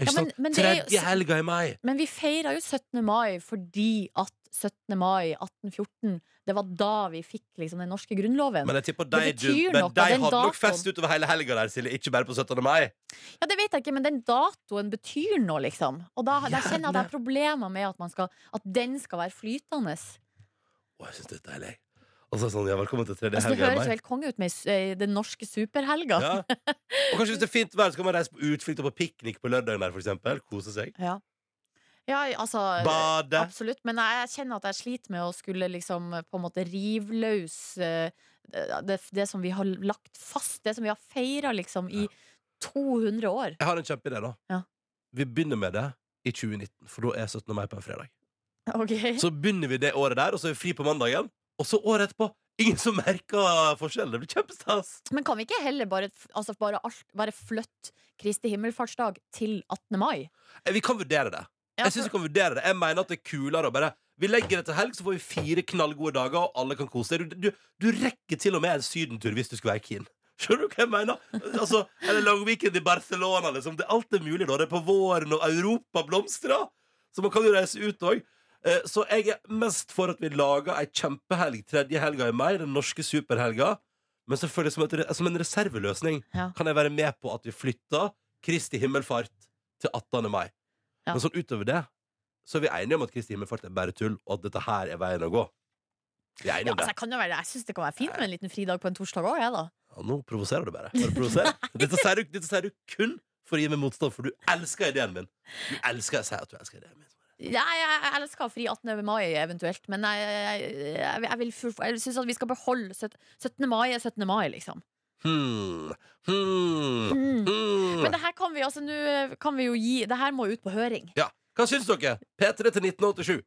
S2: Ikke
S4: Ja, men-
S2: sant?
S4: men det er jo-
S2: tredje helga i mai!
S4: Men vi feira jo 17. mai fordi at 17. mai 1814 Det var da vi fikk liksom den norske grunnloven.
S2: Men jeg tipper
S4: Det
S2: deg, Jun,
S4: betyr
S2: men
S4: noe,
S2: deg
S4: den
S2: hadde nok
S4: datoen.
S2: fest utover hele helga der, Silje, ikke bare på 17. mai.
S4: Ja, det vet jeg ikke, men den datoen betyr noe, liksom. Og da, da kjenner jeg at jeg har problemer med at, man skal, at den skal være flytende.
S2: Å, jeg syns det er deilig. Og så er det sånn, ja, velkommen til tredje
S4: Altså, det
S2: helga i
S4: høres
S2: mai.
S4: jo helt konge ut med s- eh, den norske superhelga.
S2: Ja. Og kanskje hvis det er fint vær, så kan man reise på utflukt og på piknik på lørdagen der, for eksempel. Kose seg.
S4: Ja. Ja, altså
S2: Bade.
S4: Absolutt. Men jeg kjenner at jeg sliter med å skulle liksom på en måte rive løs eh, det, det som vi har lagt fast, det som vi har feira liksom i 200 år.
S2: Jeg har en kjempeidé, da.
S4: Ja.
S2: Vi begynner med det i 2019, for da er 17. mai på en fredag.
S4: Ok.
S2: Så begynner vi det året der, og så er vi fri på mandagen. Og så året etterpå. Ingen som merker forskjellen. Det blir kjempestas.
S4: Men kan vi ikke heller bare, f- altså bare, alt, bare flytte Kristi himmelfartsdag til 18. mai?
S2: Eh, Vi kan vurdere det. Jeg synes vi kan vurdere det Jeg mener at det er kulere å bare Vi legger det til helg, så får vi fire knallgode dager, og alle kan kose seg. Du, du, du rekker til og med en sydentur hvis du skulle være keen. Skjønner du hva jeg mener? Altså, eller langweekend i Barcelona. Liksom. Det, alt er mulig da. Det er på våren, og Europa blomstrer. Så man kan jo reise ut òg. Så jeg er mest for at vi lager ei kjempehelg tredje helga i mai, den norske superhelga. Men selvfølgelig som, et, som en reserveløsning
S4: Ja.
S2: kan jeg være med på at vi flytter Kristi himmelfart til 18. mai.
S4: Ja.
S2: Men sånn utover det så er vi enige om at Kristi himmelfart er bare tull, og at dette her er veien å gå. Vi er
S4: Ja,
S2: enige om
S4: altså,
S2: det.
S4: jeg kan jo være, jeg syns det kan være fint med en liten fridag på en torsdag òg, jeg, da.
S2: Ja, nå provoserer du bare. Bare provoserer. Dette, sier du, dette sier du kun for å gi meg motstand, for du elsker ideen min. Du elsker, jeg sier at du elsker ideen min.
S4: Ja, jeg, jeg elsker å ha fri 18. mai eventuelt, men jeg, jeg, jeg, jeg, vil full- jeg syns at vi skal beholde sytt- 17. mai er 17. mai, liksom.
S2: Hmm. Hmm.
S4: Mm.
S2: Hmm.
S4: Men det her kan vi, altså, nå kan vi jo gi Det her må ut på høring.
S2: Ja. Hva syns dere? P3 til 1987.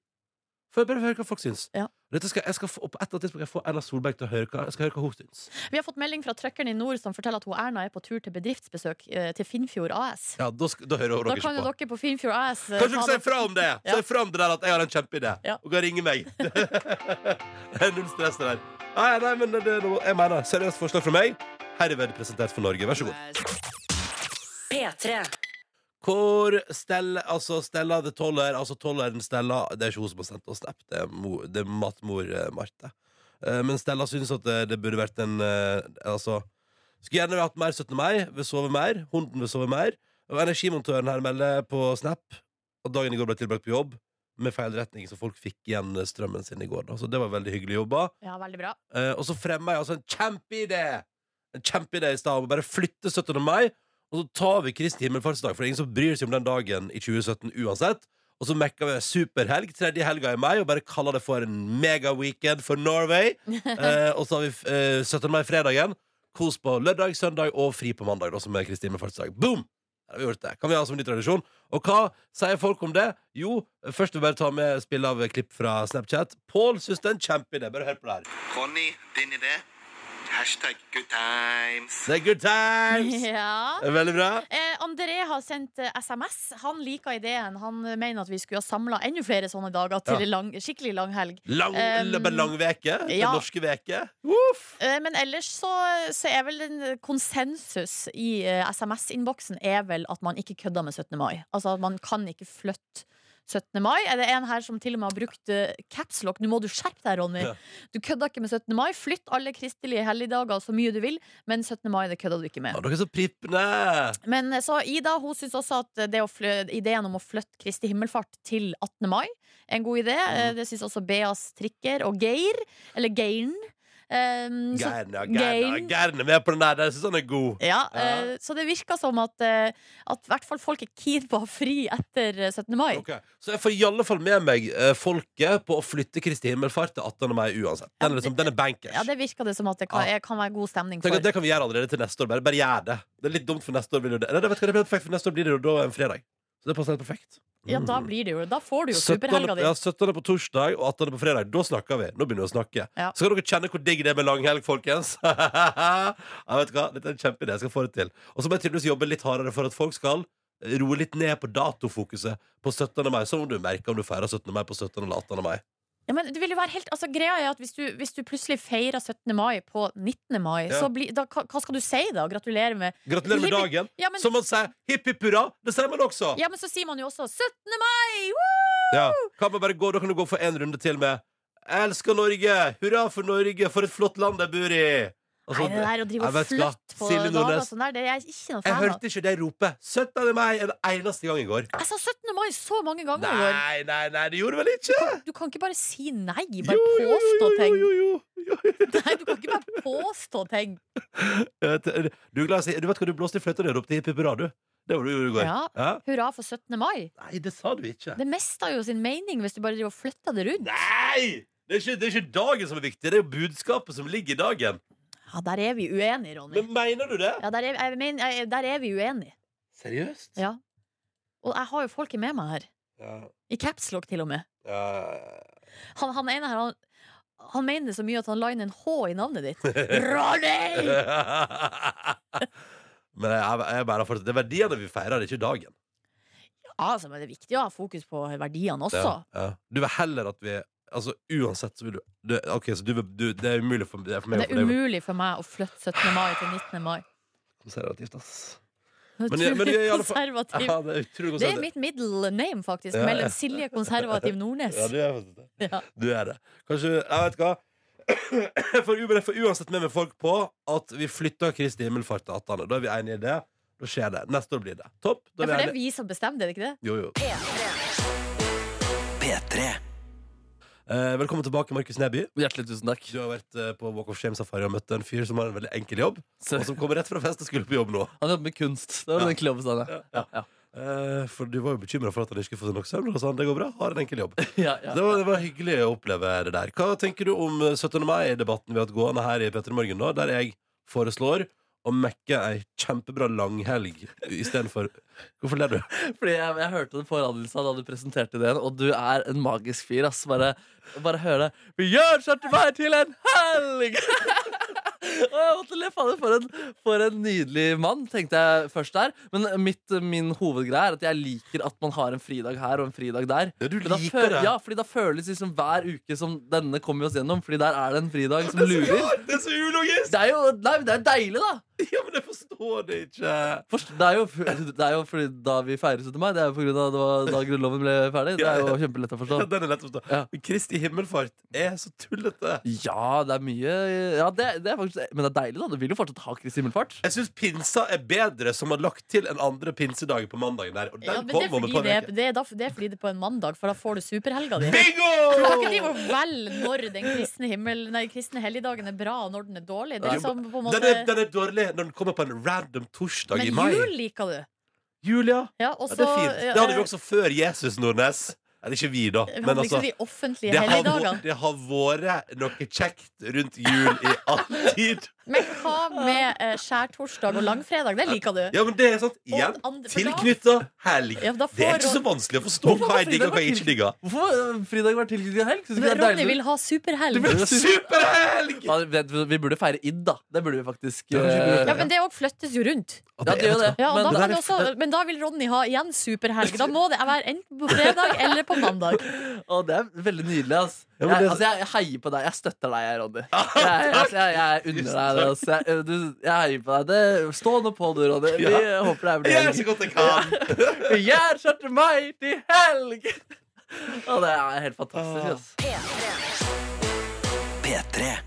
S2: For jeg bare høre hva folk syns.
S4: Ja.
S2: Dette skal, jeg skal få, på et eller annet tidspunkt skal jeg få Erna Solberg til å høre hva, jeg skal høre hva hun syns.
S4: Vi har fått melding fra trøkkeren i nord som forteller at hun Erna er på tur til bedriftsbesøk eh, til Finnfjord AS.
S2: Ja, da, sk- da hører hun
S4: Da
S2: dere
S4: kan jo
S2: ikke på.
S4: dere på Finnfjord AS eh,
S2: Kanskje dere
S4: ta
S2: sier
S4: dere-
S2: fra om det?
S4: Ja.
S2: Sier fra om det der at jeg har en kjempeidé,
S4: Ja.
S2: og kan ringe meg. det er null stress, det der. Nei, nei, men det, det, jeg mener seriøst forslag fra meg. Herved presentert for Norge. Vær så god.
S1: P3.
S2: Hvor Stella, altså Stella the Toller, altså Tolleren Stella Det er ikke hun som har sendt oss snap, det er, mo, det er matmor eh, Marte. Eh, Men Stella syns at det, det burde vært en eh, Altså Skulle gjerne hatt mer 17. mai, vil sove mer, hunden vil sove mer. Og energimontøren her melder på snap at dagen i går ble tilbrakt på jobb med feil retning, så folk fikk igjen eh, strømmen sin i går. Da. Så det var veldig hyggelig jobba.
S4: Ja, veldig bra.
S2: Eh, og så fremmer jeg altså en kjempeidé En kjempeidé i stedet om å bare flytte 17. mai, og så tar vi Kristi himmelfartsdag, for det er ingen som bryr seg om den dagen i 2017 uansett. Og så mekker vi en superhelg, tredje helga i mai, og bare kaller det for en megaweekend for Norway. Eh, og så har vi eh, 17. mai-fredagen. Kos på lørdag, søndag og fri på mandag, da, som er Kristi himmelfartsdag. Boom! Der har vi gjort det. Kan vi ha som ny tradisjon. Og hva sier folk om det? Jo, først vil vi bare ta med spill av klipp fra Snapchat. Pål syns det er en kjempeidé. Bare hør på det her.
S11: Ronny, din idé. Hashtag good times.
S2: Det er good times!
S4: Ja.
S2: Det er Veldig bra.
S4: Eh, André har sendt eh, SMS. Han liker ideen. Han eh, mener at vi skulle ha samla enda flere sånne dager til
S2: Ja.
S4: en lang, skikkelig lang helg.
S2: Lang,
S4: Um,
S2: lang, lang veke.
S4: ja.
S2: Den norske veke.
S4: Eh, Men ellers så, så er vel en konsensus i eh, SMS-innboksen er vel at man ikke kødder med 17. mai. Altså at man kan ikke flytte 17. mai. Er det en her som til og med har brukt eh, caps lock? Nå må du skjerpe deg, Ronny.
S2: Ja.
S4: Du kødder ikke med 17. mai. Flytt alle kristelige helligdager så mye du vil, men 17. mai det kødder du ikke med.
S2: Ja, dere er så prippende.
S4: Men eh, så Ida hun syns også at det å flø- ideen om å flytte Kristi himmelfart til 18. mai er en god idé. Eh,
S2: Mm.
S4: Det syns også Beas Trikker og Geir. Eller Geiren. Um, så-
S2: Gærne, ja, gærne,
S4: Geiren.
S2: gærne med på den der. Jeg syns han er god.
S4: Ja, eh, Så det virker som at, eh, at i hvert fall folk er keen på å ha fri etter eh, 17. mai.
S2: Ok, Så jeg får i alle fall med meg eh, folket på å flytte Kristi himmelfart til 18. mai uansett. Den er, liksom, den er bankers.
S4: Ja, Det virker det som at det kan,
S2: Ja.
S4: er- kan være god stemning for.
S2: Ah. Tenk at Det kan vi gjøre allerede til neste år. Bare, bare gjør det. Det er litt dumt, for neste år blir det jo det. Nei, det vet du hva, det blir perfekt, for neste år blir det jo da en fredag. Så det passer helt perfekt.
S4: Ja, da blir det jo Da får du jo
S2: 17.
S4: superhelga di.
S2: Ja, 17. på torsdag og 18. på fredag. Da snakker vi. Nå begynner vi å snakke.
S4: Ja.
S2: Så kan dere kjenne hvor digg det er med langhelg, folkens. ja, vet du hva? Dette er en kjempeidé. Jeg skal få det til. Og så må jeg tydeligvis jobbe litt hardere for at folk skal roe litt ned på datofokuset på 17. mai. Så må du merke om du feirer 17. mai på 17. eller 18. mai.
S4: Ja, men det vil jo være helt, altså, greia er at hvis du, hvis du plutselig feirer 17. mai på 19. mai,
S2: Ja.
S4: så bli, da, hva, hva skal du si da? Gratulerer med
S2: Gratulerer med
S4: Hipp-
S2: dagen.
S4: Ja, men,
S2: Som man sier hipp hipp hurra. Det sier man også.
S4: ja, men så sier man jo også 17. mai! Woo!
S2: Ja. Kan man bare gå, da kan du gå for en runde til med Jeg elsker Norge! Hurra for Norge! For et flott land jeg bor i! Og så-
S4: Nei, det der å drive
S2: Jeg
S4: og
S2: vet hva.
S4: flytte på
S2: Silje
S4: dager og
S2: Nordnes,
S4: sånn der, det er jeg ikke noe
S2: Jeg
S4: fan av.
S2: hørte ikke deg rope 17. mai en eneste gang i går.
S4: Jeg sa 17. mai så mange ganger i går.
S2: Nei, nei, nei, det gjorde vel ikke?
S4: Du kan ikke bare si nei, bare påstå ting. Nei, du kan ikke bare påstå ting.
S2: Eh, t- Du, er glad i å si- du vet hva du blåste i fløyta da du ropte hipp hipp hurra, du? Det var det du gjorde i går.
S4: Ja. Hurra for 17. mai.
S2: Nei, det sa du ikke.
S4: Det mista jo sin mening hvis du bare driver og flytta det rundt.
S2: Nei! Det er, ikke, det er ikke dagen som er viktig, det er jo budskapet som ligger i dagen.
S4: Ja, der er vi uenige, Ronny.
S2: Men mener du det?
S4: Ja, der er, jeg mener, jeg, der er vi uenige.
S2: Seriøst?
S4: Ja. Og jeg har jo folket med meg her.
S2: Ja.
S4: I capslock, til og med.
S2: Ja.
S4: Han, han ene her, han, han mener det så mye at han la inn en H i navnet ditt. Ronny!
S2: Men jeg, jeg bare fortsetter. Det er verdiene vi feirer, det er ikke dagen.
S4: Ja, altså, men det er viktig å ha fokus på verdiene også.
S2: Ja, ja. Du vil heller at vi Altså Uansett så vil du, du Ok, så du, vil- du, det er umulig for, det er for meg
S4: Det er
S2: og for deg.
S4: umulig for meg å flytte 17. mai til 19. mai.
S2: Konservativt, ass. Men jeg-
S4: Utrolig
S2: men jeg er i alle fall-
S4: konservativ.
S2: Ja, det er utrolig
S4: Det er
S2: konservativ.
S4: mitt middle name, faktisk.
S2: Ja, ja.
S4: Mellom Silje Konservativ Nordnes.
S2: Ja, du er faktisk det.
S4: Ja.
S2: Du er det. Kanskje Jeg vet hva. Jeg får, u- jeg får uansett med meg folk på at vi flytter Kristi himmelfart til Atane. Da er vi enige i det. Da skjer det. Neste år blir det. Topp. Da
S4: Ja,
S2: er vi
S4: for det er
S2: enige.
S4: vi som bestemmer, det er det ikke det?
S2: Jo, jo. Eh, velkommen tilbake, Markus Neby.
S12: Hjertelig tusen takk
S2: Du har vært eh, på Walk of Shame-safari og møtt en fyr som har en veldig enkel jobb, og som kommer rett fra fest og skulle på jobb nå.
S12: Han jobber med kunst. Det var den klubben sa han, ja.
S2: Eh, for du var jo bekymra for at han ikke skulle få seg nok søvn, og sa han det går bra, har en enkel jobb.
S12: Ja,
S2: Det, var, det var hyggelig å oppleve det der. Hva tenker du om eh, 17. mai-debatten vi har hatt gående her i Petter Morgen, da, der jeg foreslår og mekke ei kjempebra langhelg istedenfor Hvorfor ler du?
S3: Fordi jeg, jeg hørte det på radioen i stad da du presenterte ideen, og du er en magisk fyr. ass Bare, bare hør det. Vi gjør 70 meg til en helg! Og jeg måtte le fader for, en- for en nydelig mann, tenkte jeg først der. Men mitt, min hovedgreie er at jeg liker at man har en fridag her og en fridag der. Men da
S2: liker
S3: føl-
S2: det.
S3: Ja, fordi da føles liksom hver uke som denne kommer vi oss gjennom, Fordi der er det en fridag som
S2: Det er så
S3: lurer.
S2: rart, Det er så ulogisk!
S3: Det er jo nei, men det er deilig, da!
S2: Ja, men jeg forstår det ikke.
S3: Forst- Det er, jo, det er jo fordi da vi feirer 17. mai, det er jo på grunn av det var da Grunnloven ble ferdig. Det er jo kjempelett å forstå.
S2: Ja, den er lett å forstå. Men Kristi himmelfart er så tullete.
S3: Ja, det er mye ja, det, det er faktisk, Men det er deilig, da. Du vil jo fortsatt ha Kristi himmelfart.
S2: Jeg syns pinsa er bedre som har lagt til en andre pinsedag på mandagen der. Og den
S4: Ja, men det,
S2: kom
S4: er
S2: over
S4: fordi
S2: på
S4: det,
S2: veke.
S4: det, er da, det er fordi det er på en mandag, for da får du superhelga di.
S2: Bingo!
S4: Du kan ikke drive og velge når den kristne, himmel, nei, kristne helligdagen er bra, og når den er dårlig. Det er liksom på en måte
S2: den, er, den er dårlig når den kommer på en random torsdag i mai.
S4: Men jul liker du.
S2: Julia.
S4: Ja, eh, og
S2: Ja, det er
S4: så-
S2: fint. Det hadde vi også før Jesus Nordnes. Eller ikke vi, da.
S4: Men
S2: Men
S4: liksom
S2: altså,
S4: de offentlige
S2: det har,
S4: helligdagene.
S2: vå- det har vært noe kjekt rundt jul i all tid.
S4: Men hva med eh, skjærtorsdag og langfredag? Det liker du.
S2: Ja, men det er sant. Igjen.
S4: andre- for da-
S2: Tilknytta helg.
S4: Ja, da
S2: Det er
S4: får
S2: ikke så
S4: Ron-
S2: vanskelig å forstå hva jeg digger og hva jeg ikke digger.
S3: Hvorfor har fridag vært tilknyttet helg? Synes du
S4: Men
S3: det er
S4: Ronny
S3: deilig?
S4: vil ha superhelg.
S2: Superhelg!
S3: Ja, vet du, vi burde feire id, da. Det burde vi faktisk. eh,
S4: Ja, men det òg flyttes jo rundt.
S3: Ja, det gjør det.
S4: Ja, og
S3: Men-
S4: da kan vi også, men da vil Ronny ha igjen superhelg. Da må det være enten på fredag eller på mandag.
S3: Å, det er veldig nydelig, ass.
S4: Ja, men det-
S3: Jeg, altså, jeg heier på deg. Jeg støtter deg, jeg, Ronny. Jeg, altså, jeg, jeg unner deg det. ass. Jeg, du, jeg heier på deg. Det, stå nå på, du, Ronny. Vi
S2: Ja.
S3: håper det er
S2: Jeg gjør så godt jeg kan.
S3: Vi gjør 17. mai til helg! Å, det er helt fantastisk, ass.
S1: P3.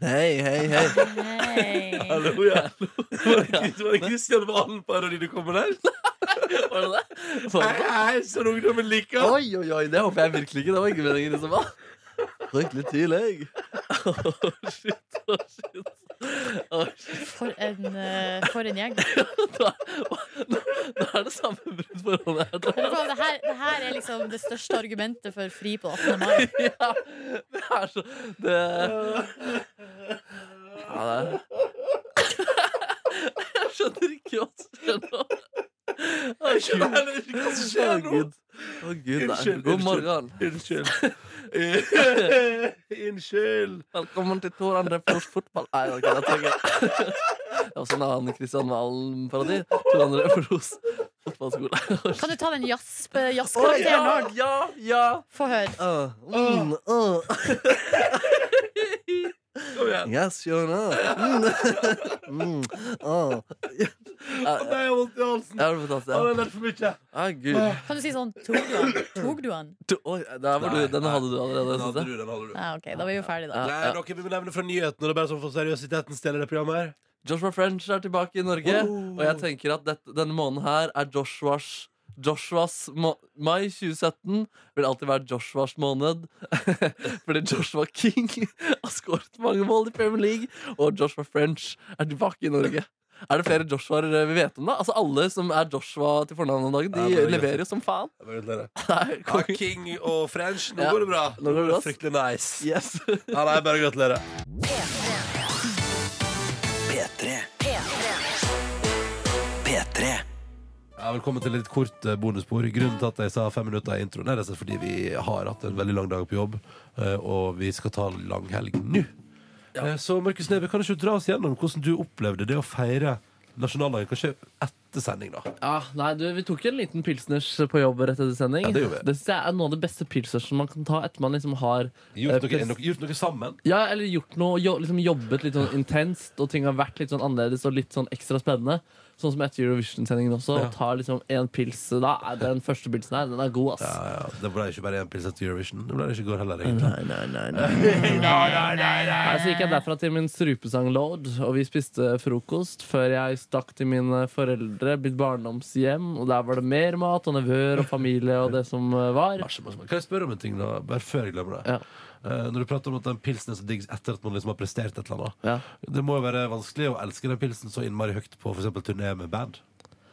S3: Hei, hei, hei.
S2: Hallo, ja. Var det Kristian Valen på Aronine kommer der?
S3: Var det det? Var det det?
S2: Hei, hei, sånn ungdommen liker.
S3: Oi, oi, oi, det håper jeg virkelig ikke. Det var ikke meningen. Liksom. Ah, Fryktelig tidlig. Å, shit.
S4: For en, eh, for en gjeng.
S3: Nå er det samme bruddforholdet jeg
S4: Men faen, Det her, det her er liksom det største argumentet for fri på 18. mai.
S3: Det er så Det Ja, det er Jeg skjønner ikke hva som skjer nå. Å,
S2: Jeg skjønner
S3: Gud.
S2: heller ikke hva som skjer nå.
S3: Å, Gud. Å, Gud, nei.
S2: Unnskyld,
S3: God
S2: unnskyld,
S3: morgen.
S2: Unnskyld. Unnskyld.
S3: Velkommen til Tor André Flos fotball. Nei, ok, det trenger jeg. Det er også en annen Kristian Valen-parodi. Tor André Flos fotballskole.
S4: Kan du ta den jazz-
S3: Å,
S4: jazzkarakteren
S3: ja,
S4: òg?
S3: ja, ja.
S4: Få høre.
S3: Åh,
S2: Uh.
S3: mm, åh.
S2: Kom igjen.
S3: Yes, you know. Mm, åh.
S2: Å nei, jeg har vondt i halsen.
S3: Ja, det var fantastisk, ja.
S2: Å, det er lett for mye.
S3: Ah, Gud.
S4: Kan du si sånn Tok du han? Tok du han?
S3: Du, oi, der var du, den hadde du allerede.
S2: Den
S3: synes
S2: hadde
S3: jeg.
S2: du, den hadde du.
S4: Ja, OK, da er vi jo ferdige, da.
S2: Nei, dere vil nevne fra nyhetene. Det er bare sånn for seriøsiteten stjeler det programmet her.
S3: Joshua French er tilbake i Norge, og
S2: Oh.
S3: jeg tenker at dette, denne måneden her er Joshuas Joshuas må Mai 2017 vil alltid være Joshuas måned. Fordi Joshua King har skåret mange mål i Premier League, og Joshua French er tilbake i Norge. Er det flere Joshuaer vi vet om, da? Altså Alle som er Joshua til fornavn om dagen,
S2: Ja,
S3: de
S2: det er greit.
S3: leverer jo som faen.
S2: Jeg bare gratulerer.
S3: Nei,
S2: Ja, King og French, nå
S3: Ja,
S2: går det bra.
S3: nå går det bra.
S2: Fryktelig nice.
S3: Yes.
S2: Ja, nei, bare gratulerer.
S1: P3. P3.
S2: Ja, velkommen til et kort eh, bonusspor. Grunnen til at jeg sa fem minutter i introen, er rett og slett fordi vi har hatt en veldig lang dag på jobb, eh, og vi skal ta langhelg nå. Eh, Så Markus Neby, kan du ikke dra oss gjennom hvordan du opplevde det å feire nasjonaldagen, kanskje etter sending, da?
S3: Ja, nei, du, Vi tok en liten pilsners på jobb rett etter sending.
S2: Ja, det gjorde vi.
S3: synes jeg er noe av det beste pilsnersen man kan ta etter man liksom har eh,
S2: Gjort noe,
S3: pres-
S2: noe, gjort noe sammen?
S3: Ja, eller gjort noe, jo, liksom jobbet litt sånn intenst, og ting har vært litt sånn annerledes og litt sånn ekstra spennende. Sånn som etter Eurovision-sendingen også.
S2: Ja.
S3: Og tar liksom en pils da. er Den første pilsen her, den er god, ass.
S2: Ja, ja, Det ble ikke bare én pils etter Eurovision. Det ble det ikke i går heller, egentlig.
S3: Nei, nei, nei, Nei, så gikk jeg derfra til min strupesanglord, og vi spiste frokost før jeg stakk til mine foreldre, mitt barndomshjem, og der var det mer mat og nevøer og familie og det som eh, var.
S2: Masse, masse, masse. Kan jeg spørre om en ting, da? Bare før jeg glemmer det. Eh, når du prater om at den pilsen er så digg etter at man liksom har prestert et eller annet. Det må jo være vanskelig å elske den pilsen så innmari høyt på for eksempel turné med band.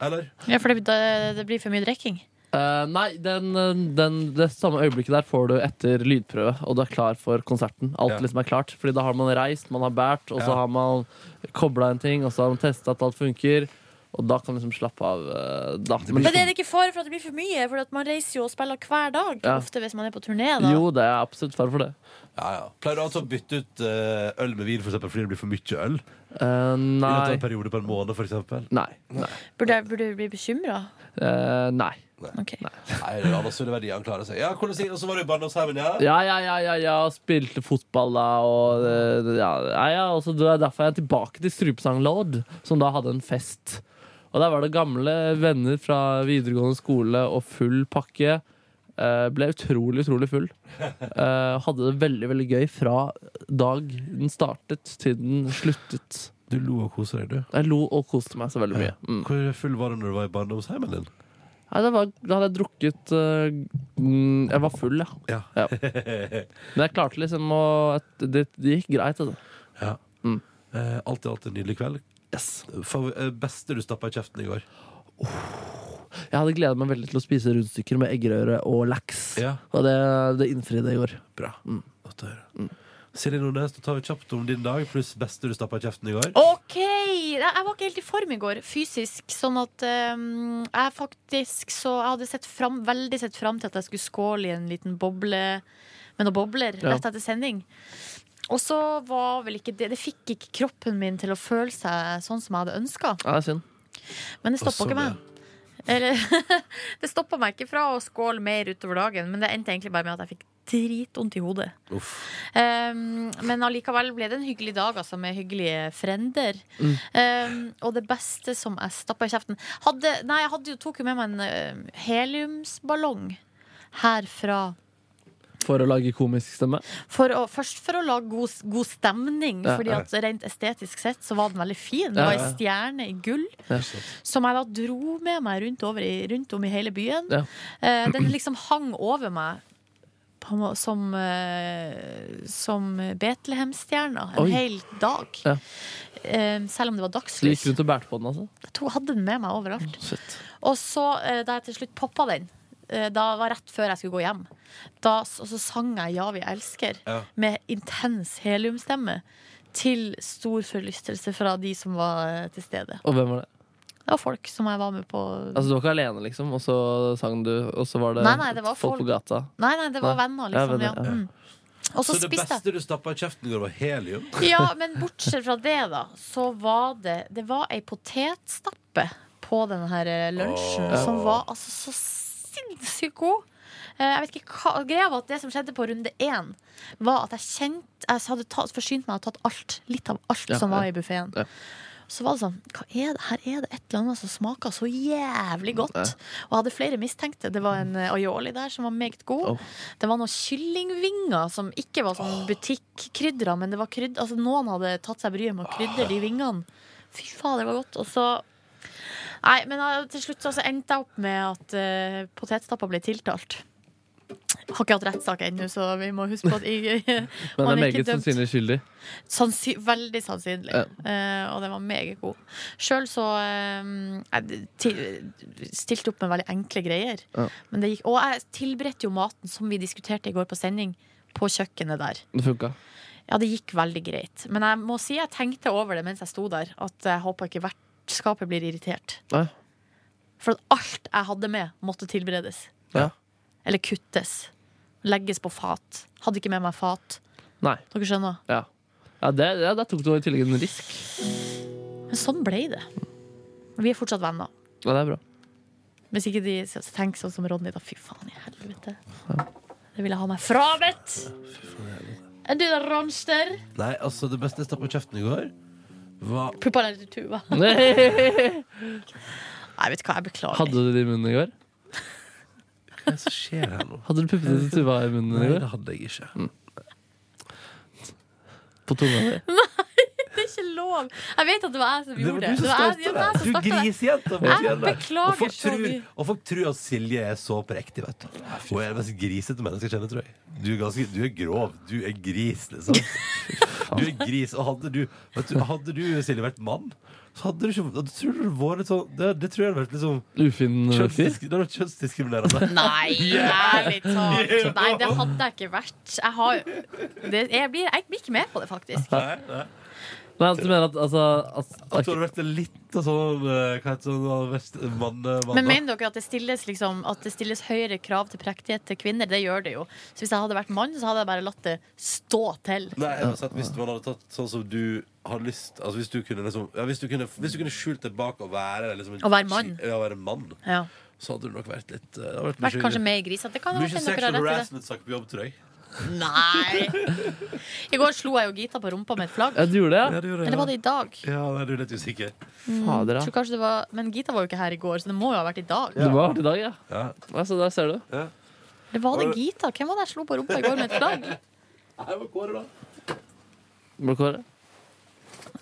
S2: Eller?
S4: Ja, for det, det, det blir for mye drikking.
S3: Eh, nei, den, den, det samme øyeblikket der får du etter lydprøve, og du er klar for konserten. Alt
S13: Ja.
S3: liksom er klart, fordi da har man reist, man har båret, og så
S13: Ja.
S3: har man kobla en ting, og så har man testa at alt funker, og da kan man liksom slappe av. eh, da. Men
S4: Men
S3: liksom-
S4: er det sånn- ikke fare for at det blir for mye? For at man reiser jo og spiller hver dag
S3: Ja.
S4: ofte hvis man er på turné. da
S3: Jo, det er absolutt fare for det.
S2: Ja, ja. Pleier du altså å bytte ut eh, øl med vin for eksempel, fordi det blir for mye øl? I løpet av
S3: nei.
S2: en periode på en måned, for eksempel?
S3: Eh, Nei. Nei.
S4: Burde jeg, burde jeg bli bekymra?
S3: Eh, nei.
S2: Nei. det er alle sunne verdier han klarer seg. Ja, hvordan sier Og så var du i barndomsheimen, ja?
S3: Ja, ja, ja, ja, ja. og Spilte fotball da, og eh, ja, ja, ja. og så det er derfor jeg er tilbake til Strupesang Lord, som da hadde en fest. Og der var det gamle venner fra videregående skole og full pakke. Eh, ble utrolig, utrolig full. Eh, hadde det veldig, veldig gøy fra dag den startet til den sluttet.
S2: Du lo og koste deg, du.
S3: Jeg lo og koste meg så veldig mye. Mm.
S2: Hvor full var du når du var i barndomsheimen din?
S3: Nei, det var, da hadde jeg drukket eh, mm, Jeg var full, ja. ja. Men jeg klarte liksom å at Det, det gikk greit, altså.
S2: Ja. Eh, alt i alt en nydelig kveld. Favor- eh, beste du stappa i kjeften i går?
S3: Jeg hadde gleda meg veldig til å spise rundstykker med eggerøre og laks. Og det, det innfridde i går. Mm.
S2: Bra. Godt å høre. Silje Nordnes, da tar vi kjapt om din dag, pluss beste du stappa i kjeften i går.
S4: OK! Jeg jeg var ikke helt i form i går, fysisk. Sånn at ehm, jeg faktisk så Jeg hadde sett fram, veldig sett fram til at jeg skulle skåle i en liten boble med noen bobler
S14: Ja.
S4: rett etter sending. Og så var vel ikke det Det fikk ikke kroppen min til å føle seg sånn som jeg hadde ønska.
S3: Ja, det er synd.
S4: Men det stoppa
S3: Og så
S4: ikke meg. Eller, det stoppa meg ikke fra å skåle mer utover dagen, men det endte egentlig bare med at jeg fikk dritvondt i hodet. Um, men allikevel ble det en hyggelig dag, altså, med hyggelige frender.
S14: Mm.
S4: Um, og det beste som jeg stappa i kjeften hadde, Nei, jeg hadde jo, tok jo med meg en eh, heliumsballong herfra.
S3: For å lage komisk stemme.
S4: For å, først for å lage god, god stemning,
S3: Ja,
S4: Fordi
S3: ja.
S4: at rent estetisk sett så var den veldig fin. Det
S3: Ja,
S4: var
S3: ja.
S4: ei stjerne i gull.
S3: Ja.
S4: Som jeg da dro med meg rundt, over i, rundt om i hele byen.
S3: Ja.
S4: Eh, den liksom hang over meg på, en må- som, eh, som Betlehemstjerna en
S3: Oi.
S4: hel dag.
S3: Ja.
S4: Eh, selv om det
S3: Så
S4: var
S3: du gikk
S4: dagslys.
S3: rundt og bærte på den, altså?
S4: Jeg tok- hadde den med meg overalt.
S3: Shit.
S4: Og så, eh, da jeg til slutt poppa den, eh, da var rett før jeg skulle gå hjem, da, s- og så sang jeg 'Ja, vi elsker'
S14: Ja.
S4: med intens heliumstemme. Til stor forlystelse fra de som var eh, til stede.
S3: Og hvem var det?
S4: Det var folk som jeg var med på
S3: Altså Du var ikke alene, liksom, og så sang du, og så var det,
S4: Nei, nei, det var folk.
S3: på gata?
S4: Nei, nei, det var venner, liksom. Ja,
S3: venner, ja.
S4: Mm. Og så
S2: så det
S4: spiste jeg.
S2: beste du stappa i kjeften i går, var helium?
S4: Ja, men bortsett fra det, da, så var det Det var ei potetstappe på den her eh, lunsjen
S14: Åh.
S4: som var altså så sinnssykt god. Eh, Jeg vet ikke hva Greia var at det som skjedde på runde én, var at jeg kjente Jeg hadde tatt, forsynt meg og tatt alt, litt av alt
S14: Ja,
S4: som var
S14: ja.
S4: i buffeen. Så var det sånn hva er det? Her er det et eller annet som smaker så jævlig godt.
S14: Ja.
S4: Og jeg hadde flere mistenkte. Det var en eh, aioli der som var meget god. Det var noen kyllingvinger som ikke var sånn butikkrydra, men det var krydd, altså noen hadde tatt seg bryet med å krydre de vingene. Fy faen, det var godt. Og så Nei, men eh, til slutt så så endte jeg opp med at uh, potetstappa ble tiltalt. Har ikke hatt rettssak ennå, så vi må huske på at jeg,
S3: Men
S4: han
S3: er
S4: er ikke
S3: meget
S4: dømt.
S3: sannsynlig skyldig.
S4: Sannsy veldig sannsynlig.
S3: Ja.
S4: Eh, og den var meget god. Sjøl så eh, jeg til- stilte opp med veldig enkle greier.
S3: Ja.
S4: Men det gikk, og jeg tilberedte jo maten som vi diskuterte i går på sending, på kjøkkenet der.
S3: Det funka.
S4: Ja, det gikk veldig greit. Men jeg må si jeg tenkte over det mens jeg sto der, at jeg håper ikke vertskapet blir irritert.
S3: Nei.
S4: For at alt jeg hadde med, måtte tilberedes.
S3: Ja.
S4: Eller kuttes. Legges på fat. Hadde ikke med meg fat.
S3: Nei.
S4: Dere skjønner?
S3: Ja. Ja, det, ja, Der tok du i tillegg en risk.
S4: Men sånn ble det. Vi er fortsatt venner.
S3: Ja, det er bra.
S4: Hvis ikke de så tenker sånn som Ronny, da fy faen i helvete. Det vil jeg ha meg frabedt! Er du da, Ronster?
S2: Nei, altså, det beste jeg stappa i kjeften i går, var
S4: Puppa ned til Tuva.
S3: Nei.
S4: Jeg vet hva, jeg beklager.
S3: Hadde du det i munnen i går?
S2: Hva er det som skjer her nå?
S3: Hadde du puppene til Tuva i munnen i
S2: Nei,
S3: går?
S2: det Mm. hadde jeg ikke.
S3: På tunga di?
S4: Nei, det er ikke lov! Jeg vet at det var jeg som gjorde det. Det var jeg- ja, det var jeg som
S2: Du
S4: startet det.
S2: grisejente!
S4: Jeg beklager
S2: og folk,
S4: så
S2: tror,
S4: mye.
S2: og folk tror at Silje er så på riktig, vet du. Hun er det mest grisete mennesket jeg kjenner, tror jeg. Du er, ganske, du er grov. Du er gris, liksom. Du er gris. Og hadde du, vet du, hadde du Silje, vært mann, så hadde du ikke da tror jeg du det var litt sånn Det, det tror jeg hadde vært litt sånn
S12: Ufin fyr?
S2: kjønnsdisk- Det hadde vært kjønnsdiskriminerende.
S4: Nei, ærlig talt. Nei, det hadde jeg ikke vært. Jeg, har, det, jeg, blir, jeg blir ikke med på det, faktisk.
S12: Nei, altså, du mener at altså, at,
S2: At du hadde vært litt av sånn eh, Hva heter det sånn mann,
S4: Men mener dere at det, stilles, liksom, at det stilles høyere krav til prektighet til kvinner? Det gjør det jo. Så hvis jeg hadde vært mann, så hadde jeg bare latt det stå til.
S2: Nei, jeg bare sa at Hvis man hadde tatt sånn som du har lyst Altså Hvis du kunne liksom ja, hvis, du kunne, hvis du kunne skjult deg bak og være liksom, en
S4: Å være mann.
S2: Ja, å være mann
S4: Ja.
S2: Så hadde du nok vært litt eh, det hadde vært
S4: Vært
S2: mye-
S4: kanskje mer grisete. Det kan
S2: Mye
S4: være dere har
S2: sexual
S4: rett i det.
S2: harassment-saker på jobb, tror jeg.
S4: Nei! I går slo jeg jo Gita på rumpa med et flagg.
S12: Ja, du gjorde det?
S2: Ja, du gjorde det,
S4: Eller
S2: ja.
S4: var det i dag?
S2: Ja, nei, du er litt usikker.
S4: Mm,
S12: Fader, ja.
S4: tror kanskje det var, men Gita var jo ikke her i går, så det må jo ha vært i dag.
S12: Det var hardt i dag, ja.
S2: ja.
S12: Altså, der ser du.
S4: Eller var det Gita? Hvem var det jeg slo på rumpa i går med et flagg?
S12: Må du kåre?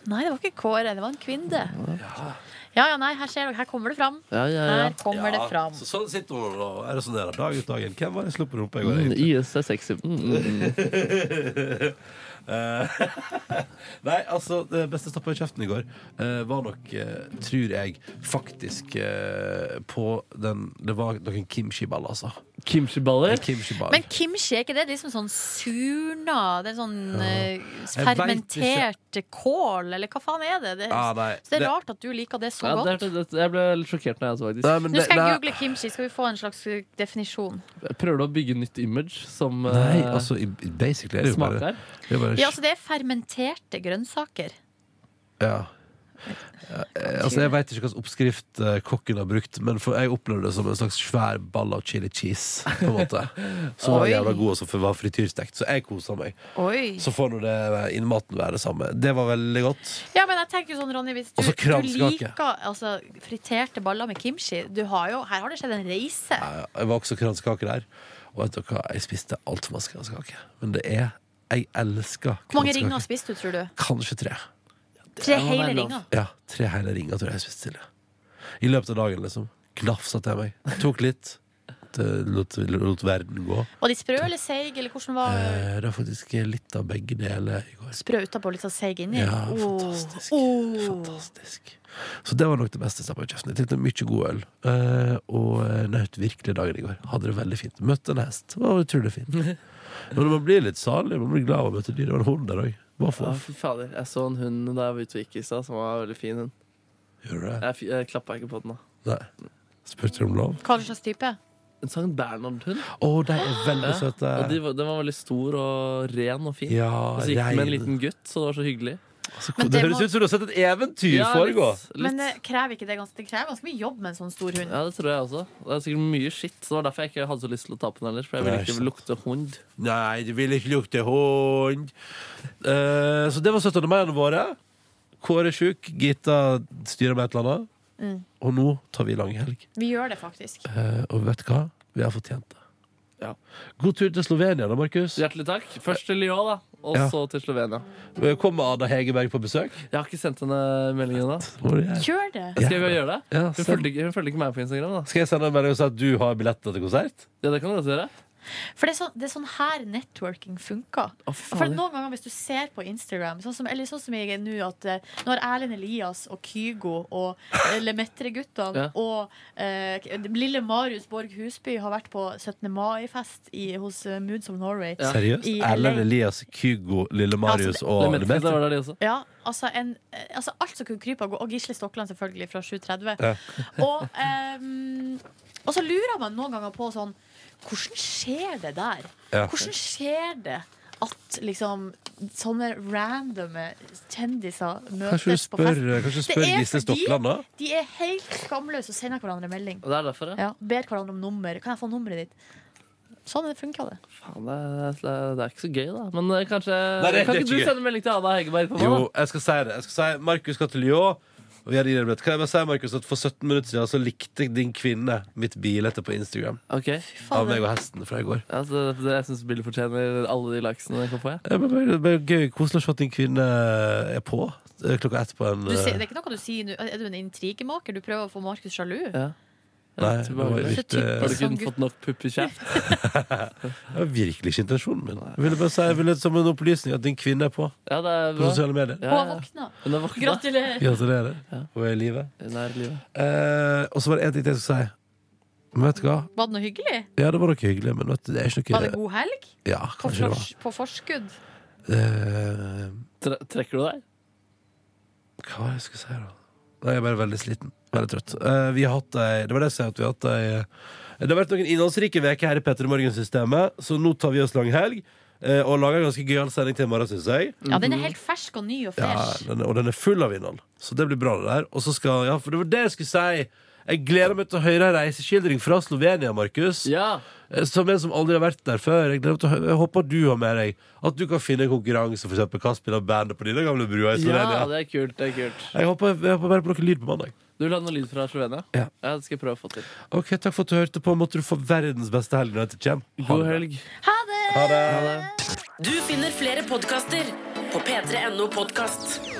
S4: Nei, det var ikke Kåre, det var en kvinne. Ja, ja, nei, her ser dere, her kommer det fram.
S12: Ja, ja, ja.
S4: Her kommer det fram.
S2: Så sånn sitter hun og resonnerer dag ut dagen. Hvem var det jeg slo på rumpa i går?
S12: Mm,
S2: egentlig?
S12: IS er sexy. Mm, mm.
S2: Eh, Nei, altså, det beste stappa i kjeften i går eh, var nok, eh, tror jeg, faktisk eh, på den Det var noen kimchi-baller, altså.
S12: Kimchi-baller?
S2: Kimchi-baller.
S4: Men kimchi, er ikke det liksom sånn surna? Det er sånn eh,
S2: Jeg vet
S4: fermentert kål, eller hva faen er det? det
S2: Ja, Ah, nei,
S4: så det
S2: det-
S4: er rart at du liker det så
S12: Ja,
S4: godt.
S12: det, er- det, jeg ble litt sjokkert når jeg så faktisk.
S4: Nå skal jeg google kimchi, skal vi få en slags eh, definisjon.
S12: Prøver du å bygge nytt image som eh,
S2: Nei, altså, i- basically er det jo bare,
S12: smaker?
S2: det er bare
S4: Ja, altså det er fermenterte grønnsaker.
S2: Ja. Eh, Altså, Jeg veit ikke hvilken oppskrift eh, kokken har brukt, men for jeg opplevde det som en slags svær ball av chili cheese. På en måte Som var
S4: Oi.
S2: jævla god og som var frityrstekt. Så jeg kosa meg.
S4: Oi.
S2: Så får nå det innmaten være det samme. Det var veldig godt.
S4: Ja, men jeg tenker jo sånn, Ronny, hvis du,
S2: Og så
S4: du
S2: kranskake.
S4: liker altså, friterte baller med kimchi, du har jo, her har det skjedd en reise.
S2: Ja, Jeg var også kransekake der. Og vet dere hva, jeg spiste altfor masse kransekake. Men det er Jeg elsker
S4: Hvor mange ringer
S2: kransekake.
S4: spiste du, tror du?
S2: Kanskje tre.
S4: Tre hele ringer.
S2: Ja, tre hele ringer tror jeg jeg spiste til. I løpet av dagen, liksom. Knafsa til meg. Tok litt. Det lot, lot verden gå.
S4: Var de sprø eller seig, eller hvordan var
S2: Eh, Det var faktisk litt av begge deler i går.
S4: sprø utapå og litt sånn seig inni? Oh.
S2: Ja,
S4: Åh,
S2: fantastisk.
S4: åh.
S2: Så det var nok det beste jeg stappa i kjeften. Jeg tenkte mye god øl. eh, Og eh, nøt virkelig dagen i går. Hadde det veldig fint. Møtte en hest. Det var utrolig fint. Men man blir litt salig. Man blir glad av å møte dyr. Det var en hund der òg.
S12: Ja,
S2: Hvorfor?
S12: fy fader. Jeg så en hund da jeg var ute og gikk i stad, som var veldig fin. hund
S2: Gjorde
S12: Jeg, fi- jeg klappa ikke på den, da.
S2: Nei. Spurte du om lov?
S4: Hva slags type?
S12: En Sankt Bernhard-hund.
S2: Å, de er veldig
S12: Ja,
S2: søte.
S12: Og de var, den var veldig stor og ren og fin.
S2: Ja,
S12: og så gikk den med en
S2: rein.
S12: liten gutt, så det var så hyggelig.
S2: det det høres må- ut som du har sett et eventyr
S12: ja,
S2: foregå.
S12: Litt,
S4: Men
S12: litt.
S4: eh, krever ikke det ganske Det krever ganske mye jobb med en sånn stor hund.
S12: Ja, det tror jeg også. Det er sikkert mye skitt. Så det var derfor jeg ikke hadde så lyst til å ta på den ellers. For jeg ville
S2: Nei,
S12: ikke
S2: sant.
S12: lukte hund.
S2: Nei, det vil ikke lukte hund. Eh, så det var 17. mai-ene våre. Kåre er sjuk, Gita styrer med et eller annet.
S4: Mm.
S2: Og nå tar vi langhelg.
S4: Vi gjør det faktisk.
S2: Uh, og vet du hva? Vi har fortjent det. God tur til Slovenia, da, Markus.
S12: Hjertelig takk. Først til Lyon, da. Og
S2: Ja.
S12: så til Slovenia.
S2: Kommer Eh, Ada Hegerberg på besøk?
S12: Jeg har ikke sendt henne melding ennå.
S4: Gjør det!
S12: Skal jeg gjøre det?
S2: Ja,
S12: hun,
S2: send.
S12: følger ikke, hun følger ikke meg på Instagram, da.
S2: Skal jeg sende en melding og si at du har billetter til konsert?
S12: Ja, det kan du godt gjøre.
S4: For det er, sånn, det er sånn her networking funker. For noen ganger hvis du ser på Instagram, sånn som, eller sånn som jeg er nå, at eh, nå har Erlend Elias og Kygo og eh,
S15: Ja.
S4: Lemetre-guttene og eh, lille Marius Borg Husby har vært på 17. mai-fest i, hos eh, Moods of Norway.
S2: Seriøst?
S4: I
S2: Erlend
S4: LA.
S2: Elias, Kygo, Lille Marius og
S12: Lemetre,
S2: Lemetre?
S12: det var der de også.
S4: Ja, altså, en, eh, altså alt som kunne krype og gå. Og Gisle Stokland, selvfølgelig, fra 7.30.
S2: Ja.
S4: Og, ehm, og så lurer man noen ganger på sånn Hvordan skjer det der?
S2: Ja.
S4: Hvordan skjer det at liksom sånne randomme kjendiser
S2: Kanskje du
S4: møtes på
S2: spør-
S4: fest?
S2: kanskje du
S4: Det
S2: spør
S4: er
S2: Gisle
S4: fordi
S2: Stokland, da?
S4: De er helt skamløse og sender hverandre melding.
S12: Og det er derfor, ja.
S4: Ja, ber hverandre om nummer. Kan jeg få nummeret ditt? Sånn funker det.
S12: Faen, det, er- det, er- det er ikke så gøy, da. Men eh, kanskje
S2: Nei, det er-
S12: Kan
S2: det er
S12: ikke du
S2: ikke gøy.
S12: sende melding til Ada Hegerberg på meg?
S2: Jo, jeg skal si det. Jeg skal si Markus skal til Lyon. Og vi har gitt deg billett. Kan jeg bare si, Markus, at For 17 minutter siden så likte din kvinne mitt bilde på Instagram.
S12: da? Ok
S2: Av meg og hesten fra i går.
S12: Ja, så det, det, jeg syns bildet fortjener alle de likesene jeg kan få.
S2: Det er bare, bare, bare gøy, Koselig å se at din kvinne er på eh, klokka ett på en
S4: Du, sier-
S2: eh,
S4: det er ikke noe du sier nå. Er du en intrigemaker? Du prøver å få Markus sjalu?
S12: Ja.
S2: Nei, det var
S12: Tilbake.
S2: litt, eh,
S12: Har du ikke fått nok puppekjeft?
S2: Det var virkelig ikke intensjonen min. Jeg ville bare si jeg ville som en opplysning at din kvinne er på.
S12: Ja, det er
S2: På sosiale medier.
S4: Hun har våkna.
S12: Hun har våkna.
S4: Gratulerer.
S2: Gratulerer. Hun er i live.
S12: Hun er i live.
S2: Eh, og så var det én ting til jeg skulle si. Men vet du hva?
S4: Var det noe hyggelig?
S2: Ja, det var noe hyggelig, men vet du, det er ikke noe
S4: Var det god helg?
S2: Ja,
S4: På,
S2: kanskje det var.
S4: fors på forskudd?
S2: Eh,
S12: trekker du deg?
S2: Hva var det jeg skulle si, da? Nei, jeg er bare veldig sliten. Veldig trøtt. Eh, vi har hatt ei Det var det jeg sa, at vi har hatt ei eh, Det har vært noen innholdsrike uker her i Petter i Morgen-systemet, så nå tar vi oss lang helg. eh, og lager en ganske gøyal sending til i morgen, syns jeg.
S4: Ja, den er helt fersk og ny og
S2: Mm. Ja,
S4: fresh.
S2: den, og den er full av innhold. Så det blir bra, det der. Og så skal, ja, for det var det jeg skulle si. Jeg gleder meg til å høre en reiseskildring fra Slovenia, Markus. Eh, Som en som aldri har vært der før. Jeg, gleder meg til å hø- jeg håper du har med deg at du kan finne en konkurranse, f.eks. hva spiller bandet på dine gamle brua i
S12: Ja,
S2: Slovenia.
S12: det er kult. det er kult
S2: Jeg håper, jeg håper bare på noe lyd på mandag.
S12: Du vil ha noe lyd fra Slovenia? Ja. Det skal jeg prøve å få til.
S2: Ok, Takk for at du hørte på. Måtte du få verdens beste helg når dette kommer.
S12: God helg.
S1: Ha det!
S2: Ha det.
S1: Du finner flere podkaster på p3.no podkast.